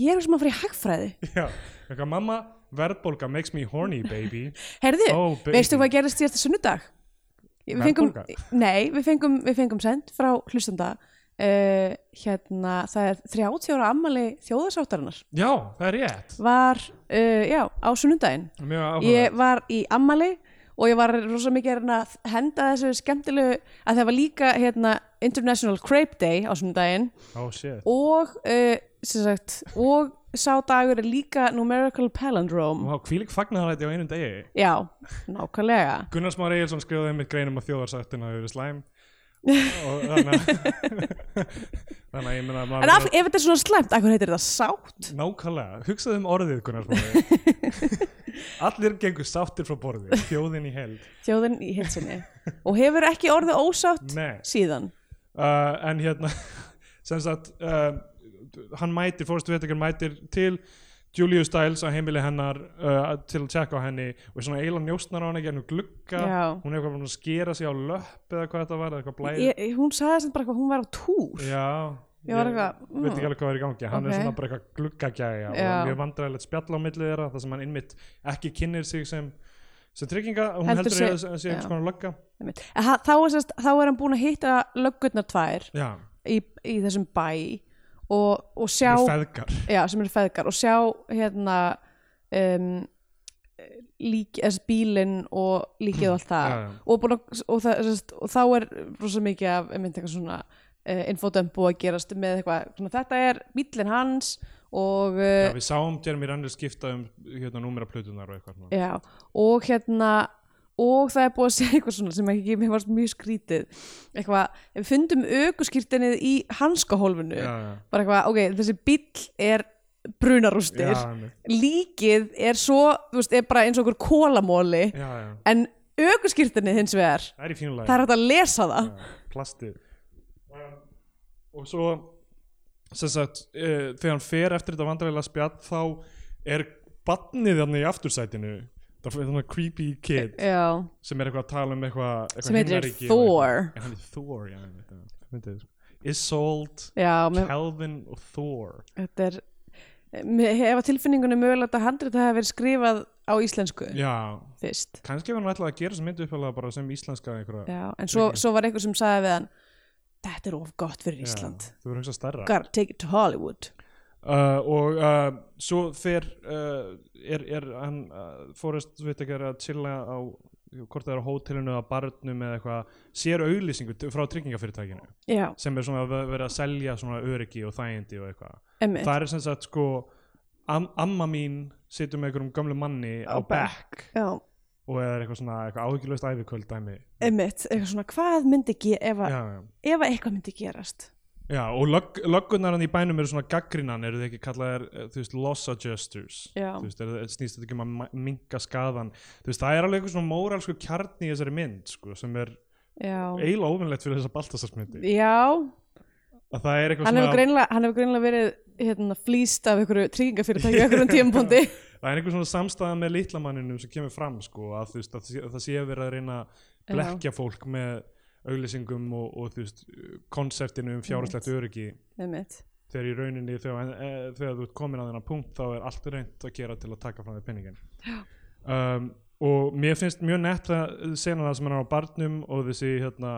S2: ég er sem að fara í hagfræði
S1: já, eitthvað, mamma, verðbólga makes me horny baby
S2: Herðu,
S1: Oh, baby.
S2: veistu hvað gerist síðasta sunnudag? Við fengum,
S1: Verðbólga?
S2: nei, við fengum, við fengum send frá hlustanda uh, hérna, það er 30 ára ammali þjóðasáttarinnar
S1: já, það er rétt
S2: var, uh, já, á sunnudaginn
S1: mjög áhugavert
S2: ég var í ammali og ég var rosa mikið að reyna að henda þessu skemmtilegu, að það var líka hérna, International Crepe Day á sunnudaginn
S1: oh shit
S2: og uh, sem sagt, og sá dagur er líka Numerical Palindrome
S1: Vá, hvílík fagnarætti á einum degi
S2: já, nákvæmlega
S1: Gunnar Már Egilson skrifaði einmitt greinum að þjóðarsættin hafi verið slæm og þannig að þannig að ég meina að
S2: En af,
S1: maður
S2: ef þetta er svona slæmt, akkur heitir þetta sátt?
S1: nákvæmlega, hugsaðu um orðið Gunnar Már allir gengur sáttir frá borði þjóðin í held
S2: Þjóðin í hilsinni. Og hefur ekki orðið ósátt
S1: Nei.
S2: síðan.
S1: uh, en hérna sem sagt uh, hann mætir, fórstu veitakar mætir til Julius Stiles á heimili hennar uh, til að tjekka á henni og svona eiginlega njóstnar á henni gennum glugga
S2: Já.
S1: hún er eitthvað búin að skera sig á löpp eða hvað þetta var, eða eitthvað blæði
S2: Ég, ég- hún sagði sem bara hvað hún var á túr.
S1: Já,
S2: Ég var eitthvað, mm.
S1: veit ekki alveg hvað er í gangi hann
S2: Ok.
S1: er svona bara eitthvað gluggagæja og
S2: Já.
S1: það er mjög vandræðilegt spjall á milli þeirra þar sem hann innmitt ekki kynnir sig sem, sem trygginga, hún
S2: Heldur
S1: heldur,
S2: sig-
S1: heldur sig, sig einhvers
S2: já.
S1: konar lögga
S2: Einmitt. En ha- Þá er, sérst, þá er hann búin að hitta löggurnar tvær
S1: Já,
S2: í, í þessum bæ og, og sjá,
S1: með feðgar
S2: já, sem eru feðgar, og sjá hérna um, lík, þess bílinn og líkið og allt það.
S1: Já, já.
S2: Og, búin að, og, það sérst, og þá er rosa mikið af, einmitt eitthvað svona uh, infodömpu að gerast með eitthvað, svona, þetta er bílinn hans og uh,
S1: Já, við sáum Jeremy Renner skipta um hérna númera plötunar og eitthvað svona.
S2: Já, og hérna og það er búið að segja eitthvað svona sem ekki mér varst mjög skrítið eitthvað, við fundum aukuskýrtinnið í hanskahólfinu,
S1: Já, já.
S2: bara eitthvað ok, þessi bíll er brunarústir
S1: Já, einmitt.
S2: líkið er svo, þú veist, er bara eins og okkur kólamóli,
S1: já, já.
S2: en aukuskýrtinnið hins vegar,
S1: Það er í fínulega
S2: það er hægt að lesa það
S1: plastið um, og svo sem sagt, uh, þegar hann fer eftir þetta vandrarlega spjall þá er batnið hann í aftursætinu það er þannig creepy kid
S2: Já,
S1: sem er eitthvað að tala um eitthvað, eitthvað
S2: Eh, Sem heitir
S1: himnaríki og
S2: Thor.
S1: eitthvað. En hann er Thor, já, ég veit það. Myndið, sko. Isolt,
S2: já, mér,
S1: Calvin og Thor
S2: þetta er mér hefa tilfinningunni mögulegt að handrið það hefur verið skrifað á íslensku
S1: já,
S2: fyrst
S1: kannski var hann ætlað að gera þessu myndu upphæðlega bara sem íslenska einhverja
S2: Já, en svo, svo var einhver sem sagði við hann Þetta er of gott fyrir Ísland
S1: þú verður hugsa stærra
S2: Gotta take it to Hollywood
S1: uh, og uh, svo fer uh, er, er hann uh, Forrest Whitaker að chilla á hvort það er á hótelinu eða barnum eða eitthvað, sér auglýsingu t- frá tryggingafyrirtækinu
S2: Já,
S1: sem er svona að ver- verið að selja svona öryggi og þægindi og eitthvað
S2: emmitt
S1: það er sem sagt sko am amma mín situr með einhverjum gamlu manni á,
S2: Á
S1: bekk
S2: Já,
S1: og er eitthvað svona eitthvað áhyggjulöst æfikvöld dæmi
S2: emmitt, eitthvað svona Hvað myndi ge- ef,
S1: já,
S2: að-
S1: já.
S2: ef að eitthvað myndi gerast
S1: já og lögg, löggunar hann í bænum eru svona gaggrinan eru þið ekki kallaðir eh, þú veist loss adjusters
S2: Já,
S1: þú veist, er, er- snýst þetta ekki um að minga skaðan þú veist, það er alveg einhver svona móralsku kjarni í þessari mynd, sko, sem er
S2: já
S1: eiginlega óvinnlegt fyrir þessa Baltasarsmyndi
S2: Já,
S1: að það er eitthvað
S2: hann hefur
S1: svona,
S2: greinlega, hann hefur greinlega verið hérna, flýst af einhverju tryggingafyrirtæki á einhverjum tímpúndi
S1: það er einhver svona samstæða með litlamanninum sem kemur fram, sko, að þú veist að, sé- að það sé verið að reyna að blekja fólk með auglýsingum og, og þú veist konsertinu um fjárhastlegt öryggi
S2: Emmitt
S1: þegar í rauninni þegar, e, þegar þú ert komin að þennan punkt þá er allt reynt að gera til að taka frá þér penningin um, og mér finnst mjög nett að sena það sem hann er á barnum og þessi hérna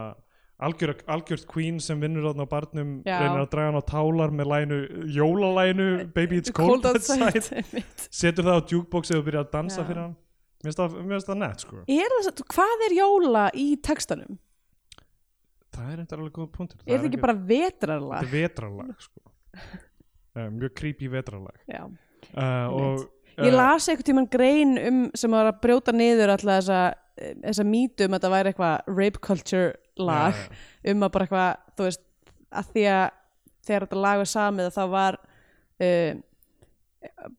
S1: algjör, algjört queen sem vinnur þarna á barnum
S2: Já.
S1: reynir að draga hann á tálar með lænu, jólalænu Baby It's Cold, Outside
S2: einmitt.
S1: setur það á jukebox eða þú byrjar að dansa
S2: Já.
S1: fyrir hann mér finnst það- mér finnst það nett sko
S2: er það, hvað er jóla í textanum?
S1: það er eitthvað alveg góð punktur
S2: er það ekki bara
S1: þetta
S2: vetrarlag?
S1: er vetralag sko. uh, mjög creepy vetralag
S2: Já.
S1: uh, og
S2: Ég las einhvern tímann grein um sem var að brjóta niður alltaf þessa, eh, þessa mýtu um að þetta væri eitthvað rape culture lag
S1: Já,
S2: um að bara eitthvað, þú veist, að því að þegar þetta lag var samið að þá var uh,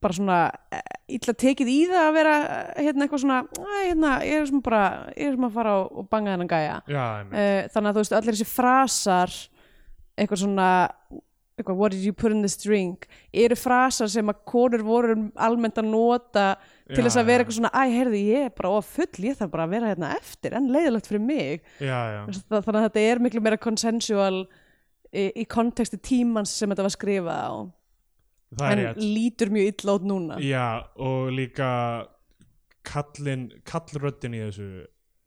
S2: bara svona eh, illa tekið í það að vera eh, hérna eitthvað svona, "Æ, hérna, ég er sem bara, ég er sem að fara og og banga þennan gæja.
S1: já, einmitt.
S2: Eh, þannig að þú veist allir þessi frasar eitthvað svona eitthvað, what did you put in this drink eru frasar sem að konur voru almennt að nota til
S1: Já,
S2: þess að vera
S1: já.
S2: eitthvað svona, æ, heyrðu, ég er bara of full ég þarf bara að vera hérna eftir, en leiðilegt fyrir mig
S1: já, já.
S2: Þa- þannig að þetta er miklu meira consensual í, í konteksti tímans sem þetta var skrifað á
S1: það er
S2: en
S1: rétt
S2: lítur mjög illa út núna
S1: já, og líka kallin, kallröddin í þessu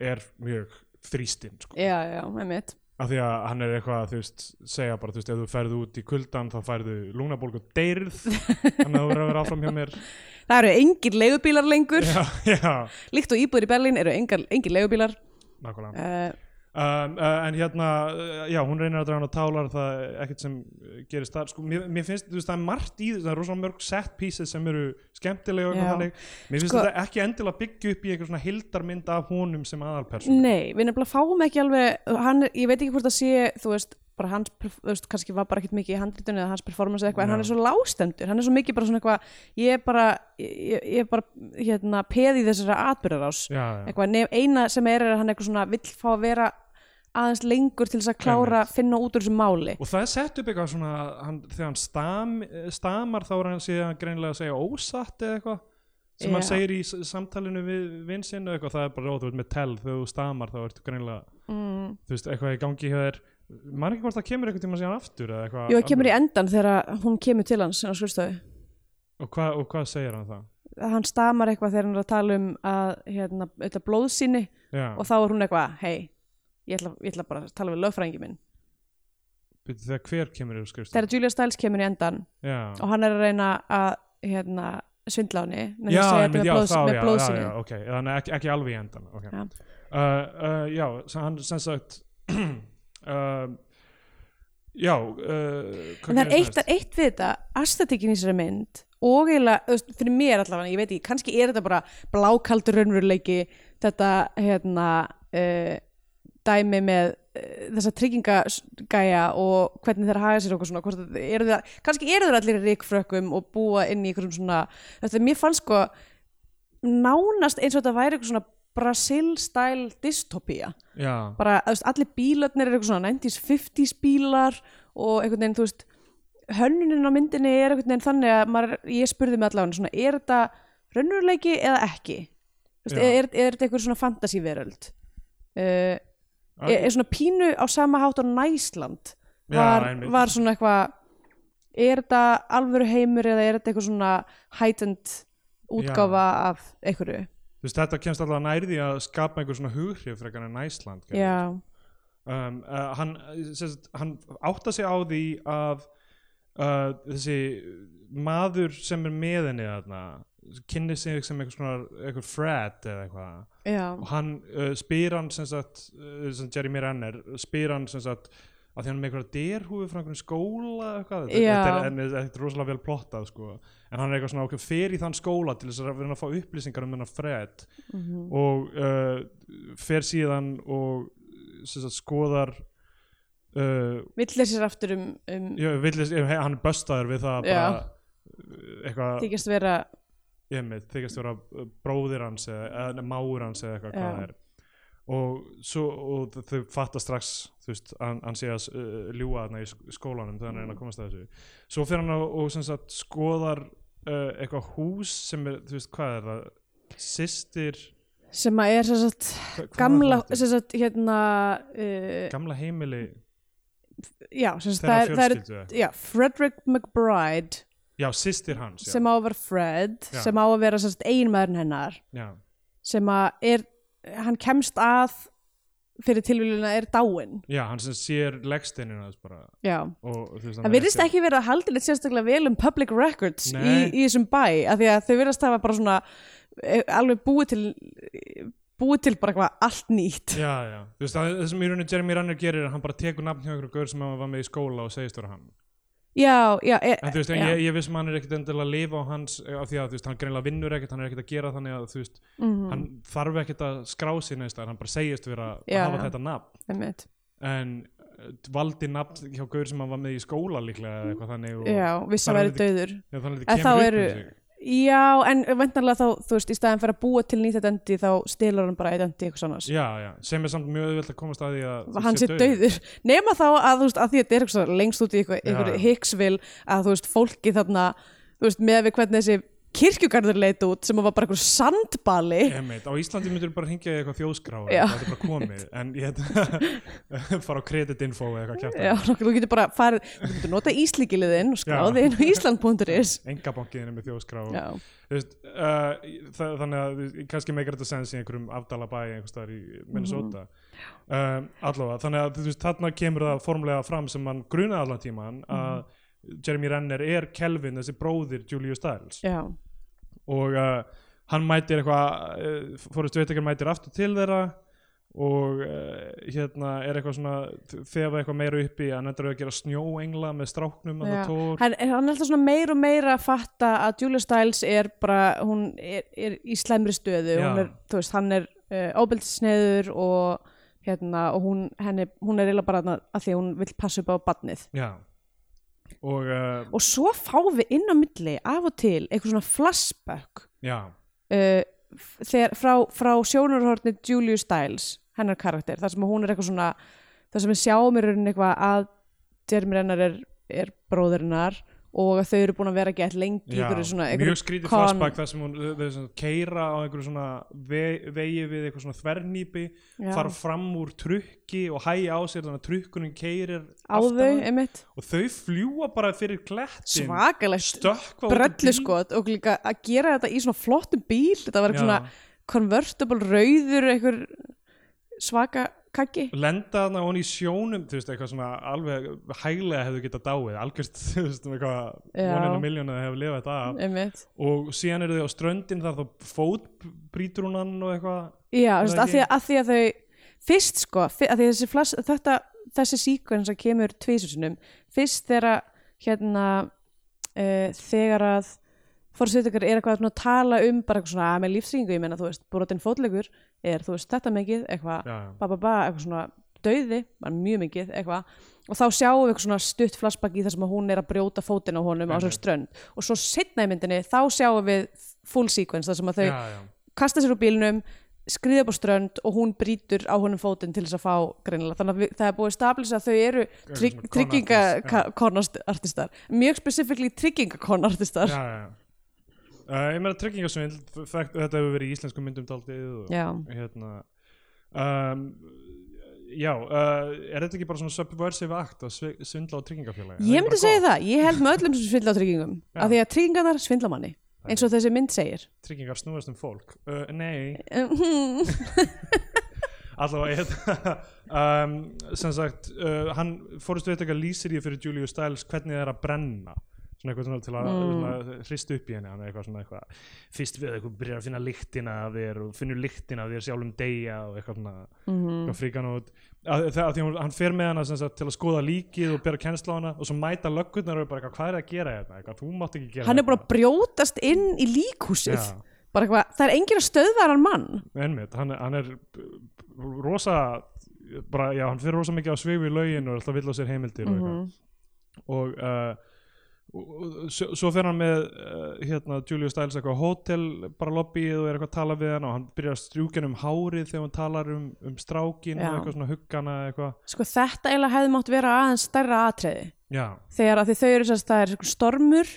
S1: er mjög þrýstinn sko.
S2: já, já, einmitt
S1: af því að hann er eitthvað að þú veist segja bara, þú veist, ef þú ferð út í kuldan þá færðu lungnabólgu deyrð þannig að þú verður að vera áfram hjá mér
S2: það eru engir leigubílar lengur
S1: já, já,
S2: líkt og íbúður í Berlín eru engar, engir leigubílar
S1: nákvæmlega
S2: uh,
S1: um, uh, en hérna, uh, já, hún reynir að draga hann á tálar það er ekkert sem uh, gerist þar sko, mér, mér finnst, þú veist, það er margt í þessu það er rosalega mörg set pieces sem eru skemmtilega og eitthvað
S2: Já.
S1: þannig, mér finnst
S2: Sko-
S1: þetta ekki endilega byggja upp í einhver svona hildarmynd af honum sem aðalpersonu
S2: Nei, við nefnilega fáum ekki alveg hann, er- ég veit ekki hvort það sé, þú veist bara hans, perf- þú veist, kannski var bara ekkert mikið í handritunni eða hans performance eða eitthvað, en
S1: Já.
S2: hann er svo lástendur hann er svo mikið bara svona eitthvað ég er bara, ég, ég er bara hérna, peði þessara atbyrðarás
S1: já, já,
S2: eitthvað, nef, eina sem er er að hann eitthvað svona vill fá að vera aðeins lengur til þess að klára, finna út úr þessu máli
S1: og það er sett upp eitthvað svona hann, þegar hann stam, eh, stamar þá er hann síðan greinilega að segja ósatt eða eitthvað sem hann
S2: Já.
S1: segir í s- samtalinu við vinsinn eitthvað, það er bara róð, þú veit, með tell þegar þú stamar þá ertu greinilega,
S2: mm.
S1: þú veist, eitthvað í gangi hjá þér maður ekki hvort það kemur eitthvað tíma síðan aftur eða eitthvað
S2: Jú, það
S1: annað.
S2: kemur í endan þegar að hún kemur til hans á skurstofu
S1: Og, hva, og hvað segir hann það?
S2: hann stamar eitthvað þegar hann er að tala um að hérna, þetta blóðsýni
S1: Já,
S2: og þá er hún eitthvað, hei ég ætla, ég ætla bara að tala við lögfrængi minn
S1: byrju, þegar hver kemur yfir skrifst
S2: þegar Julia Stiles kemur í endan
S1: Já,
S2: og hann er að reyna að hérna, svindla á henni með
S1: já,
S2: því að segja
S1: einmitt,
S2: þetta með,
S1: já,
S2: blóðs,
S1: þá,
S2: með
S1: já, já,
S2: blóðsýni
S1: já, ok Þannig ekki, ekki alveg í endan okay.
S2: Já.
S1: Uh, uh, Já, sem hann sem sagt uh, Já uh, hvað
S2: en það er
S1: gerist
S2: eitt,
S1: næst?
S2: eitt við þetta astetikinn í þessari mynd og eiginlega, þú veist, fyrir mér allavega ég veit ekki, kannski er þetta bara blákaldur raunveruleiki þetta hérna uh, dæmi með uh, þessa tryggingagæja og hvernig þeir haga sér okkur svona hvort, að- eru þeir, kannski eru þeir allir í ríkfrökkum og búa inn í einhverjum svona þetta, mér fannst sko nánast eins og þetta væri eitthvað svona Brasil-style dystopía
S1: Já,
S2: bara, þú veist, allir bílarnir eru eitthvað svona 90s, 50s bílar og einhvern veginn, þú veist hönnunin á myndinni er einhvern veginn þannig að maður, ég spurði mig allavega svona, er þetta raunveruleiki eða ekki Þú veist,
S1: Já.
S2: er, er þetta einhver svona fantasíveröld uh, er,
S1: uh,
S2: er svona pínu á sama hátt á Næsland
S1: Já,
S2: var,
S1: einmitt.
S2: var svona eitthvað er þetta alvöru heimur eða er þetta eitthvað svona heightened útgáfa af einhverju
S1: þú veist, þetta kemst alltaf nærði að skapa einhver svona hughrif frekar en Æsland gerði.
S2: já,
S1: um, uh, hann, eh, sem sagt, hann átta sig á því að uh, þessi maður sem er með henni þarna kynni sig sem einhvers konar einhver fred eða eitthvað
S2: já,
S1: og hann uh, spyr hann sem sagt, uh, sem Jeremy Renner spyr hann sem sagt að því hann er með einhverja derhúfi frá einhverjum skóla eða eitthvað, þetta,
S2: Já.
S1: þetta, er, en þetta er rosalega vel plottað sko. en hann er eitthvað svona okkur fer í þann skóla til þess að vera að fá upplýsingar um þennan Fred
S2: mhm,
S1: og uh, fer síðan og sem sagt, skoðar uh,
S2: vill sér aftur um, um
S1: já, villis, eh, hann er böstaður við það að
S2: Já.
S1: bara, uh, eitthvað
S2: þykist vera
S1: einmitt, þykast vera uh, bróðir hans eða, eða nei, mágur hans eða eitthvað hvað
S2: Já.
S1: það er og, svo, og þ- þau fatta strax þú veist, hann, hann sé að s- uh, ljúga þarna í sk- skólanum þegar hann
S2: Mm.
S1: er að komast að þessu svo fyrir hann og, og sem sagt, skoðar uh, eitthvað hús sem er, þú veist, hvað er það systir
S2: sem að er sem sagt,
S1: hva- hvað er
S2: gamla
S1: það aftur?
S2: sem sagt, hérna, uh,
S1: gamla heimili
S2: já, sem sagt,
S1: þeirra
S2: það, er, það er,
S1: fjölskyldu
S2: já, Frederick McBride
S1: já, sýstir hans já.
S2: sem á að vera Fred
S1: Já.
S2: sem á að vera sem sagt, eiginmaðurinn hennar
S1: já.
S2: sem að er, hann kemst að fyrir tilvíluna er dáin
S1: já, hann sem sér leggsteinina þess bara
S2: já,
S1: og, þú veist, hann
S2: það
S1: er
S2: virðist ekki verið að halda neitt sérstaklega vel um public records í,
S1: Nei.
S2: í þessum bæ, af því að þau virðast hafa bara svona eh, alveg búið til búið til bara eitthvað allt nýtt
S1: já, já, þú veist, það, það sem í rauninni Jeremy Renner gerir er að hann bara tekur nafn hjá einhverju gaur sem hann var með í skóla og segist vera hann
S2: já, já, e,
S1: en þú veist, en
S2: já.
S1: ég, ég vissum að hann er ekkit endilega að lifa á hans, eh, af því að þú veist, hann greinlega vinnur ekkit, hann er ekkit að gera þannig að þú veist,
S2: Mhm.
S1: hann þarf ekkit að skrá sér neist að hann bara segist vera að
S2: Já,
S1: hafa
S2: já.
S1: þetta nafn
S2: einmitt.
S1: en eh, valdi nafn hjá gaur sem hann var með í skóla líklega eða eitthvað þannig og
S2: já, viss að
S1: Þar
S2: væri
S1: er
S2: döður
S1: Já, þannig að
S2: En
S1: það
S2: þá
S1: kemur upp
S2: eru-
S1: um sig.
S2: já, en vendarlega þá, þú veist, í staðan fyrir að búa til nýtt identity þá stilur hann bara identity eitthvað annars
S1: Já, já, sem er samt mjög auðvelt að komast að því að þú
S2: hann sé
S1: sért dauður.
S2: döður nema þá að þú veist að því að þetta er eitthvað svona lengst út í eitthvað,
S1: Já.
S2: eitthvað hiksvil að þú veist fólki þarna þú veist með við hvernig þessi kirkjugarður leit út sem var bara eitthvað sandbali
S1: Einmitt, á Íslandi myndur bara hringja í eitthvað þjóðskrá
S2: Já.
S1: eða það er bara komið en ég hefði fara á kreditinfo eða eitthvað
S2: Já,
S1: kjartan
S2: nokkuð, þú getur bara farið, þú getur nota íslíkiliðinn og skráði inn á Ísland.is
S1: engabankiðinu með þjóðskrá
S2: Já,
S1: Þú veist, uh, það, þannig að þú- kannski meikar þetta sens í einhverjum afdala bæ einhverstaðar í Minnesota
S2: Mhm.
S1: um, allavega, þannig að þú veist, þarna kemur það formlega fram sem mann grunaði allan tíman að
S2: Mhm.
S1: Jeremy Renner er Kelvin, þessi bróðir Julius Stiles
S2: já,
S1: og uh, hann mætir eitthvað uh, fórist veitakar mætir aftur til þeirra og uh, hérna er eitthvað svona þefa eitthvað meira uppi hann endur að gera snjóengla með stráknum að
S2: já.
S1: það tór
S2: Hann, hann er alltaf svona meir og meira að fatta að Julia Stiles er bara, hún er, er í slemri stöðu,
S1: Já.
S2: hún er, þú veist, hann er uh, óbeltisneiður og hérna, og hún, henni, hún er eiginlega bara þarna að því að hún vill passa upp á badnið.
S1: já og uh,
S2: Og svo fá við inn á milli af og til eitthvað svona flashback
S1: já,
S2: uh, f- þegar, frá, frá sjónurhorni Julia Stiles, hennar karakter þar sem hún er eitthvað svona þar sem við sjáum í rauninni eitthvað að Jeremy Renner er, er bróðurinnar og að þau eru búin að vera gett lengi í
S1: já.
S2: einhverju svona,
S1: mjög
S2: einhverju
S1: skrítið
S2: kon-
S1: flashback þar sem hún þau- þau svona keira á einhverju svona ve vegi við eitthvað svona þvernýpi
S2: Já.
S1: fara fram úr trukki og hæja á sér þannig að trukkunum keirir
S2: á þau einmitt
S1: og þau fljúa bara fyrir klettin
S2: svakalegt
S1: stökkva út úr
S2: bröllu sko.
S1: bíl.
S2: og líka að gera þetta í svona flottum bíl þetta var
S1: Já.
S2: eitthvað svona convertible rauður einhver svaka kaggi
S1: lenda þarna hon í sjónum þú veist, eitthvað svona alveg hæglega hefðu getað dáið, algjörst þú veist, um eitthvað
S2: Já.
S1: voninu miljónu að hefur lifað þetta af
S2: einmitt
S1: og síðan eru þau á ströndin þar þá fótbrýtur hún hann og eitthvað
S2: Já,
S1: Það
S2: þú veist,
S1: er
S2: að því
S1: ekki-
S2: að, að því að þau fyrst sko, fi- að því að þessi flass, þetta, þessi síkvensa kemur tvísusunum, fyrst þegar að, hérna uh, þegar að fórsveitakar er eitthvað svona að tala um bara eitthvað svona að með lífsringu, ég meina þú veist, brotin fótlegur er þú veist þetta mikið, eitthvað
S1: já,
S2: ba ba ba, eitthvað svona dauði, bara mjög mikið eitthvað, og þá sjáum við eitthvað svona stutt flashback í þar sem að hún er að brjóta fótinn á honum á
S1: Einmitt.
S2: þessar strönd og svo setna í myndinni, þá sjáum við full sequence þar sem að þau
S1: já, já,
S2: kasta sér úr bílnum skriða upp á strönd og hún brýtur á honum fótinn til þess að fá greinilega þannig að við, það er búið að stabilisa að þau eru trygg,
S1: svona konartist, já.
S2: tryggingakornartistar mjög spesifikli
S1: já,
S2: tryggingakornartistar já,
S1: já. Uh, ég meina tryggingasvind þetta hefur verið í íslenskum myndum daldið og
S2: já.
S1: hérna um, já, uh, er þetta ekki bara svona subversive act að svi- svindla á tryggingafélagi
S2: ég myndi segja það, ég held með öllum sem svindla á tryggingum
S1: Já.
S2: af því að tryggingarnar svindla manni
S1: Það
S2: eins og þessi mynd segir
S1: tryggingar snúast um fólk uh, nei
S2: Mhm.
S1: Allavega, hérna, um, sem sagt, uh, hann fórist veit ekki að lýsir ég fyrir Julius Stiles hvernig það er að brenna svona eitthvað svona til að
S2: Mm.
S1: mm. hrista upp í henni hann er eitthvað svona eitthvað fyrst við eitthvað byrjar að finna lyktina af þér og finnur lyktina af þér sjálfum deyja og eitthvað svona
S2: Mhm.
S1: eitthvað fríkan út að, það, að því hún, hann fer með hana sem sagt, til að skoða líkið og bera kennsla á hana og svo mæta löggurnar og eru bara eitthvað hvað er að gera hérna eitthvað, þú mátt ekki gera
S2: hann er búin að brjótast inn í líkhúsið
S1: Já.
S2: bara eitthvað, það er engin að stöðva hann mann
S1: Einmitt, hann, hann er b- b- rosa bara, já, hann fyrir rosa mikið á svig við lögin og er alltaf vill á sér heimildir
S2: mm
S1: og eitthvað og, uh, og svo, svo fyrir hann með uh, hérna, Julius Stiles eitthvað á hótel bara lobbyið og er eitthvað að tala við hann og hann byrjar að strjúka henni um hárið þegar hann talar um, um strákin
S2: Já.
S1: og eitthvað svona huggana eitthvað,
S2: sko þetta eiginlega hefði mátt vera aðeins stærra atriði
S1: já,
S2: þegar að því þau eru sérst það er einhver stormur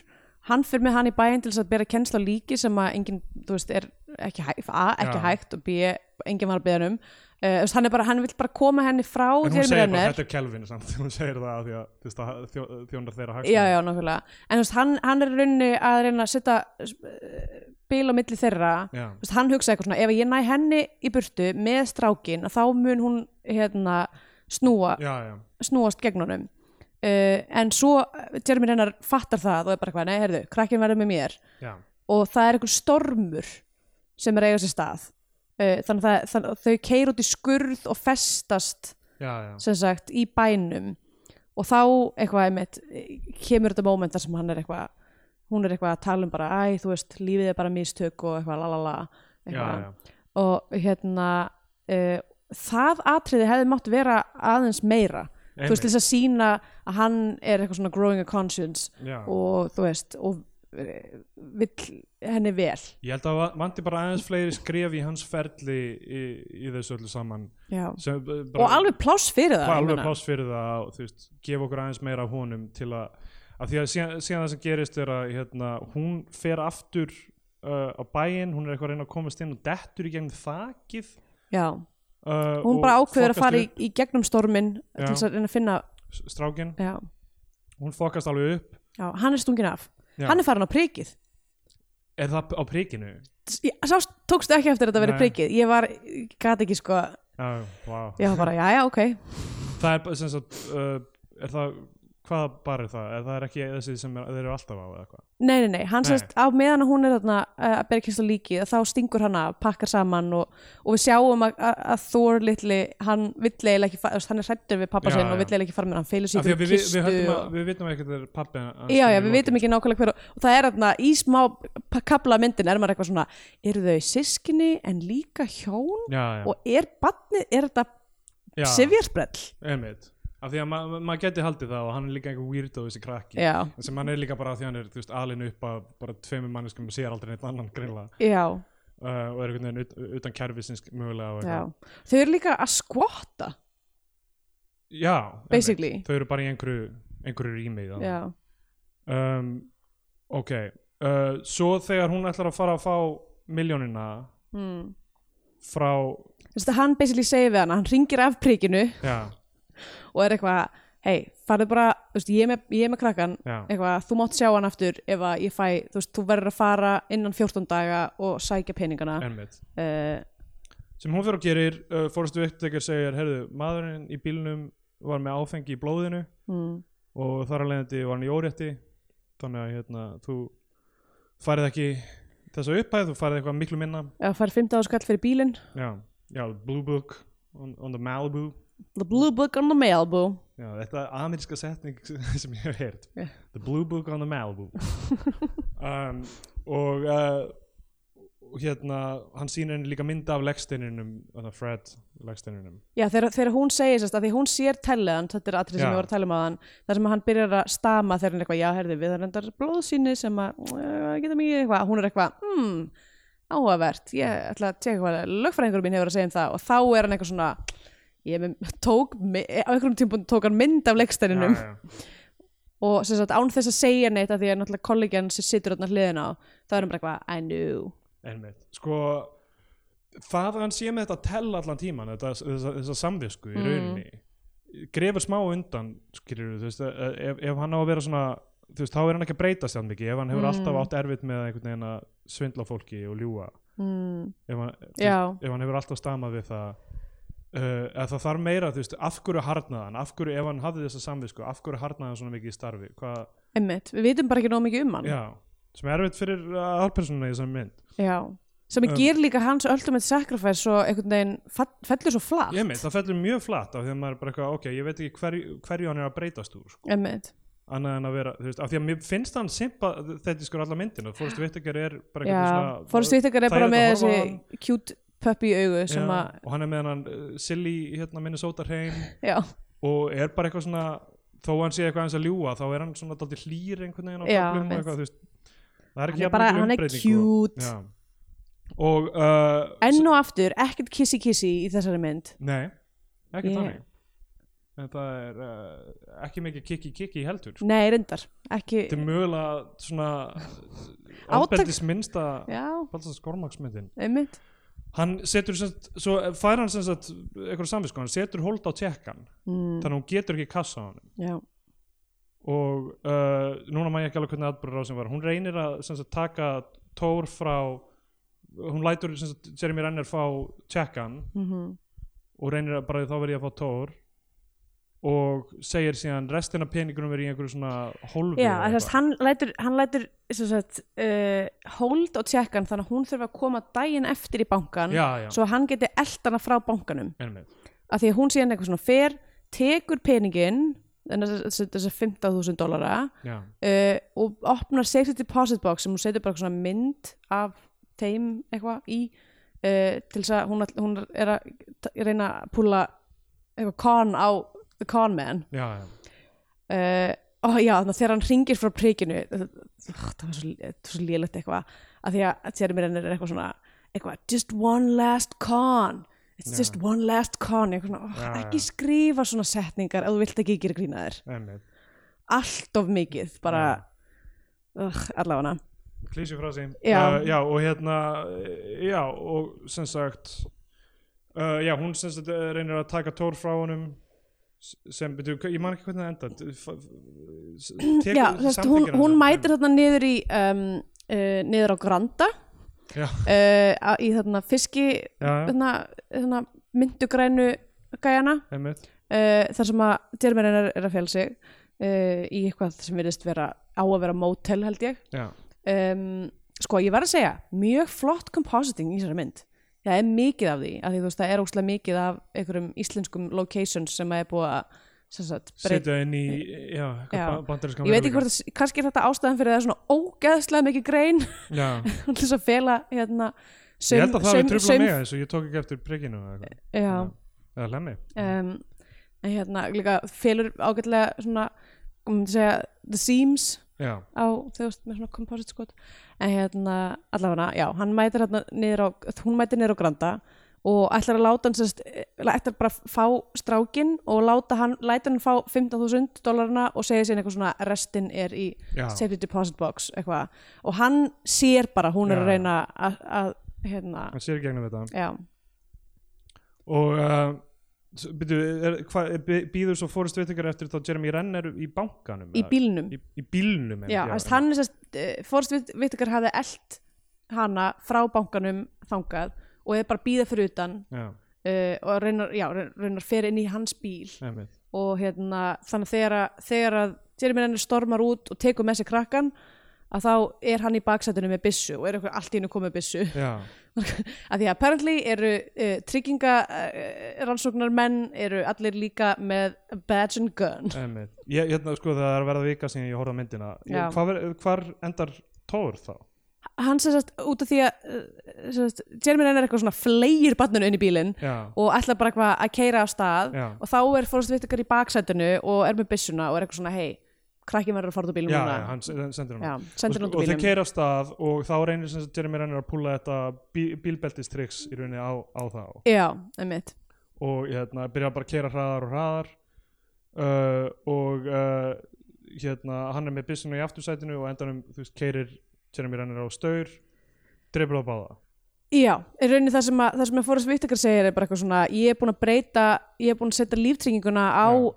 S2: hann fyrir með hann í bæinn til þess að bera kennsla á líki sem að enginn, þú veist, er ekki, hæ, a, ekki
S1: Já.
S2: hægt og b, enginn var að beða um uh, hann, er bara, hann vill bara koma henni frá
S1: en hún segir bara
S2: hennar
S1: þetta er kelvin samt hún segir það af því að þú veist, það þjó, þjónar þeirra hagsmunum.
S2: já, já, nákvæmlega en þú veist, hann, hann er í rauninni að reyna að setja uh, bíl á milli þeirra
S1: Já.
S2: Þú veist, hann hugsaði eitthvað svona ef ég næ henni í burtu með strákin þá mun hún hérna, snúa,
S1: já, já,
S2: snúast gegn honum uh, en svo Jeremy Renner fattar það og er bara eitthvað, nei, heyrðu, krakkin verður með mér
S1: já,
S2: og það er einhver stormur sem er að eiga sér stað uh, þannig að það, þannig, að þau keir út í skurð og festast
S1: já, já.
S2: sem sagt í bænum og þá eitthvað einmitt kemur þetta moment þar sem hann er eitthvað hún er eitthvað að tala um bara æ, þú veist, lífið er bara mistök og eitthvað lalala
S1: já,
S2: eitthvað.
S1: já.
S2: og hérna uh, það atriði hefði mátt vera aðeins meira þú veist,
S1: Einmitt.
S2: þess að sína að hann er eitthvað svona growing a conscience
S1: Já.
S2: og þú veist og eh, vill henni vel
S1: ég held að það vandi bara aðeins fleiri skref í hans ferli í, í þessu öllu saman
S2: Já.
S1: sem, eh, bara,
S2: og alveg pláss fyrir það
S1: hvað
S2: ég
S1: alveg
S2: meina.
S1: pláss fyrir það og þú veist, gefa okkur aðeins meira af honum til að, af því að síðan, síðan það sem gerist er að hérna, hún fer aftur uh, á bæinn, hún er eitthvað að reyna að komast inn og dettur í gegnum þakið
S2: Já.
S1: uh,
S2: hún
S1: og
S2: bara ákveður að
S1: þokast
S2: fara í,
S1: upp,
S2: í gegnum stormin
S1: Já.
S2: til þess að reyna að finna
S1: s- strákinn,
S2: já,
S1: hún fokast alveg upp
S2: já, hann er stungin af
S1: Já.
S2: hann er farin á prikið
S1: er það á prikinu?
S2: Ég- sást, tókstu ekki eftir að þetta verið
S1: Nei.
S2: prikið ég var, gæti ekki sko
S1: Já, vá.
S2: ég var bara, já, já, ok
S1: það er bara sem sagt uh, er það, hvaða bar er það? Er það er ekki þessi sem er, þeir eru alltaf á eða hvað?
S2: Nei, nei, nei, hann
S1: Nei.
S2: sérst á meðan að hún er þarna eh, að bera kynst á líkið þá stingur hann að pakkar saman og, og við sjáum að, að, að Thor litli hann vill eiginlega ekki, fa- þú veist, hann er hrættur við pappa
S1: Já,
S2: sinn og
S1: já.
S2: vill eiginlega ekki fara með hann
S1: Af
S2: fylgur sér
S1: því að
S2: fyrir
S1: við, við,
S2: kistu
S1: við, höldum að,
S2: og,
S1: við vitum ekki að þetta er pappi hans sem
S2: Já, já,
S1: er í
S2: við
S1: lokin.
S2: vitum ekki nákvæmlega hver og og það er þarna í smá p- kafla myndin er maður eitthvað svona, eru þau sískinni en líka hjón
S1: já, já.
S2: og er badnið, er þetta
S1: Já,
S2: sifjarsbrell?
S1: einmitt af því að ma- ma- maður geti haldið það og hann er líka einhver weirdo þessi krakki
S2: Já,
S1: sem hann er líka bara af því að hann er þú veist, alin upp að bara tveimur manneskum og sér aldrei neitt annan grilla uh,
S2: já,
S1: og er einhvern veginn ut, utan kerfisins mögulega og
S2: já
S1: eitthvað.
S2: Þau eru líka að skvotta,
S1: já, einmitt.
S2: basically
S1: þau eru bara í einhverju, einhverju rými þarna.
S2: Já,
S1: um, ok uh, svo þegar hún ætlar að fara að fá miljónina
S2: mm
S1: frá
S2: Þú veist að hann basically segir við hana, hann ringir af prikinu
S1: já,
S2: og er eitthvað, hei, farðu bara, þú veist, ég er með, ég er með krakkan,
S1: já,
S2: eitthvað, þú mátt sjá hann aftur ef að ég fæ, þú veist, þú verður að fara innan 14 daga og sækja peningana.
S1: einmitt
S2: Uh,
S1: sem hún fyrir og gerir, uh, fórstu vittekar segir herðu, maðurinn í bílnum var með áfengi í blóðinu
S2: mm,
S1: og þar að leiðandi var hann í órétti þannig að hérna, þú færið ekki þessa upphæð þú færið eitthvað miklu minna
S2: að fara 15 áskall fyrir bílinn,
S1: já, já Blue Book on, on the Malibu
S2: the blue book on the mail boo.
S1: já, þetta er ameríska setning sem ég hef heyrt
S2: Já.
S1: The Blue Book on the Malibu um, og uh, og hérna, hann sýnir henni líka mynda af legsteininum þarna Fred legsteininum
S2: Já, þegar, þegar hún segir sérst að því hún sér telliðan, þetta er atrið sem
S1: Já.
S2: ég voru að tala um að hann, þar sem hann byrjar að stama þegar hann er eitthvað, já, herði, við erum endar blóðsýni sem að, uh, geta mikið eitthvað, hún er eitthvað, hmm, áhugavert, ég ætla að tjekka hvað lögfræðingur minn hefur að segja um það og þá er hann eitthvað svona, ég er með, tók, mi- á einhverjum tímpun tók hann mynd af leikstæninum
S1: já, já.
S2: og sem sagt án þess að segja neitt að því að náttúrulega kollegjan sem situr þarna hliðin á, þá er hann bara eitthvað, I knew,
S1: Einmitt. Sko, það að hann sé með þetta að tella allan tíman, þetta, þessa, þessa samvisku í
S2: Mm.
S1: rauninni, grefur smá undan, skilur þú veist, eh, ef, ef hann á að vera svona, þú veist, þá er hann ekki að breytast þann mikið, ef hann hefur
S2: Mm.
S1: alltaf átt erfitt með einhvern veginn að svindla fólki og ljúga,
S2: hmm,
S1: ef hann, þú veist,
S2: já,
S1: ef hann hefur alltaf stamað við það, uh, eða það þarf meira, þú veist, af hverju harnaði hann, af hverju, ef hann hafði þessa samvisku, af hverju harnaði hann svona mikið í starfi, hvað,
S2: emmitt, við vitum bara ekki nóg mikið um hann.
S1: já, sem er erfitt fyrir alpersonuna í þessum mynd.
S2: Já, sem
S1: Um,
S2: um, ger líka hans ultimate sacrifice svo einhvern veginn fall, fellur svo flatt
S1: Ég meint, það fellur mjög flatt af því að maður er bara eitthvað, ok, ég veit ekki hverju, hverju hann er að breytast úr, sko.
S2: Einmitt.
S1: annað en að vera, þú veist, af því að mér finnst hann simpa þetta skur alla myndina, Forrest Whitaker er bara
S2: Já,
S1: eitthvað
S2: Forrest Whitaker er bara
S1: þægilegt
S2: með
S1: að horfa á hann.
S2: þessi cute puppy augu
S1: Já,
S2: sem að,
S1: og hann er með hann uh, silly hérna Minnesota hrein
S2: já,
S1: og er bara eitthvað svona, þó hann sé eitthvað eins að ljúa, þá er hann svona daldið hlýr einhvern veginn á
S2: Já,
S1: köflum og
S2: einmitt.
S1: eitthvað, þú veist, það er
S2: hann
S1: ekki
S2: er bara,
S1: jafn mikil
S2: hann er
S1: umbreyting sko. og-
S2: cute
S1: Já. og uh,
S2: enn og aftur, ekkert kissy kissy í þessari mynd
S1: Nei, ekki
S2: Ég-
S1: þannig En það er uh, ekki mikið kikki kikki heldur sko.
S2: Nei, reyndar, ekki
S1: Þetta er mögulega svona eh,
S2: Átak-
S1: ábældis minnsta
S2: Já,
S1: Baltasar Skormaksmyndin
S2: einmitt
S1: hann setur sem sagt, svo fær hann sem sagt eitthvað samvisko, hann setur hold á tjekkan
S2: mm,
S1: þannig að hún getur ekki kassa á hann
S2: já,
S1: og uh, núna maður ekki alveg hvernig atbyrður á sem var hún reynir að sem sagt, taka tór frá hún lætur sem sagt, Jeremy Renner fá tjekkan
S2: mm
S1: og reynir að bara þá verði ég að fá tór og segir síðan restina peningunum verið í einhverju svona hólfi eða
S2: já en
S1: eitthvað.
S2: þess, hann lætur, hann lætur sem sagt, uh, hold á tjekkan þannig að hún þurfa að koma daginn eftir í bankan
S1: já, já,
S2: svo að hann geti eldana frá bankanum
S1: einmitt.
S2: af því að hún síðan eitthvað svona fer tekur peningin þessar 15.000 dólara
S1: já,
S2: uh, og opnar safety deposit box sem hún setur bara svona mynd af þeim eitthvað í uh, til þess að hún, ætl- hún er að t- reyna að púla eitthvað con á the con man
S1: já, já.
S2: uh, ó já, þannig að þegar hann ringir frá prikinu það það var svo, það var svo lélegt eitthvað að því að þegar mér ennir er eitthvað svona eitthvað, just one last con it's
S1: Já.
S2: just one last con eitthvað svona, ó,
S1: Já, já.
S2: ekki skrifa svona setningar ef þú vilt ekki gera grína þér
S1: einmitt
S2: allt of mikið, bara uh, allavega
S1: klísi frá sín
S2: Já.
S1: já, og hérna eh, já, og sem sagt uh, já, hún sem sagt eh, reynir að taka tór frá honum s- sem, betur, ég man ekki hvernig það enda d- f- s- tekur
S2: já, þess, hún,
S1: samþykkir hann
S2: hún
S1: það?
S2: mætir þarna niður í um, uh, niður á Granda
S1: Já.
S2: uh, á- í þarna fiski
S1: já, já,
S2: þarna, þarna myndugrænu gæjana
S1: einmitt
S2: uh, þar sem að Jeremy Renner er að fjala sig uh, í eitthvað sem virðist vera á að vera mótel held ég
S1: já,
S2: um, sko ég var að segja mjög flott compositing í þessari mynd það er mikið af því, af því þú veist það er óslega mikið af einhverjum íslenskum locations sem að er búið að sem sagt, breyta
S1: setja inn í, já,
S2: Já.
S1: bandarinska
S2: ég veit ekki hvort, það- kannski er þetta ástæðan fyrir að það er svona ógeðslega mikið grein
S1: já,
S2: til þess að fela hérna saum,
S1: ég held að það hafi
S2: saum-
S1: tröflað
S2: saum-
S1: mig að þessu, ég tók ekki eftir prikinu eða eitthvað.
S2: já,
S1: eða lemmi
S2: um, en hérna líka felur ágætlega svona, um myndi segja the seams
S1: já,
S2: á þú veist með svona composite skot en hérna allavega, já, hann mætir hérna niður á, hún mætir niður á Granda og ætlar að láta hann sérst, ætlar bara að fá strákin og láta hann, lætur hann fá 15.000 dólarna og segja sér eitthvað svona restin er í
S1: já,
S2: safety deposit box eitthvað og hann sér bara, hún
S1: Já.
S2: er að reyna að, að hérna,
S1: hann sér í gegnum þetta
S2: já,
S1: og uh, byrju, hva, býður svo Forrest Whitaker eftir þá Jeremy Renner í bankanum
S2: í bílnum
S1: í, í bílnum einmitt,
S2: já, já, hann er sérst, uh, Forrest Whitaker hafði eld hana frá bankanum þangað og er bara að býða fyrir utan
S1: já,
S2: uh, og reynar, já, reynar fer inn í hans bíl
S1: einmitt.
S2: og hérna, þannig að þegar að, þegar að Jeremy Renner stormar út og tekur með sér krakkan að þá er hann í baksætinu með byssu og er eitthvað allt í hennu komið byssu
S1: já,
S2: að því að apparently eru uh, trygginga uh, rannsóknar eru allir líka með a badge and gun
S1: einmitt. ég, hérna, sko, það er að verða vika síðan ég horfði á myndina
S2: Já.
S1: Ég- hvar, ver- hvar endar Tór þá?
S2: hann sem sagt út af því að uh, sem sagt, Jeremy Renner eitthvað svona fleir barninu inn í bílinn
S1: já,
S2: og ætlar bara eitthvað að keira á stað
S1: Já.
S2: og þá er Forrest Whitaker í baksætinu og er með byssuna og er eitthvað svona hei, krakkin verður að fara út úr bílum
S1: já,
S2: núna
S1: já, hann sen- sendir hann
S2: Já,
S1: og,
S2: sendir hann
S1: og
S2: út úr
S1: þeir
S2: bílum
S1: keira af stað og þá reynir sem sagt Jeremy Renner að púla þetta bí, bílbeltistryggs í rauninni á, á þá
S2: já, einmitt
S1: og hérna, byrja bara að keira hraðar og hraðar uh, og uh, hérna, hann er með byssuna í aftursætinu og endanum, þú veist, keirir Jeremy Renner á staur dreipur á báða
S2: já, í rauninni það sem, að, það sem að Forrest Whitaker segir er bara eitthvað svona ég er búin að breyta, ég er búin að setja líftrygginguna á
S1: Já.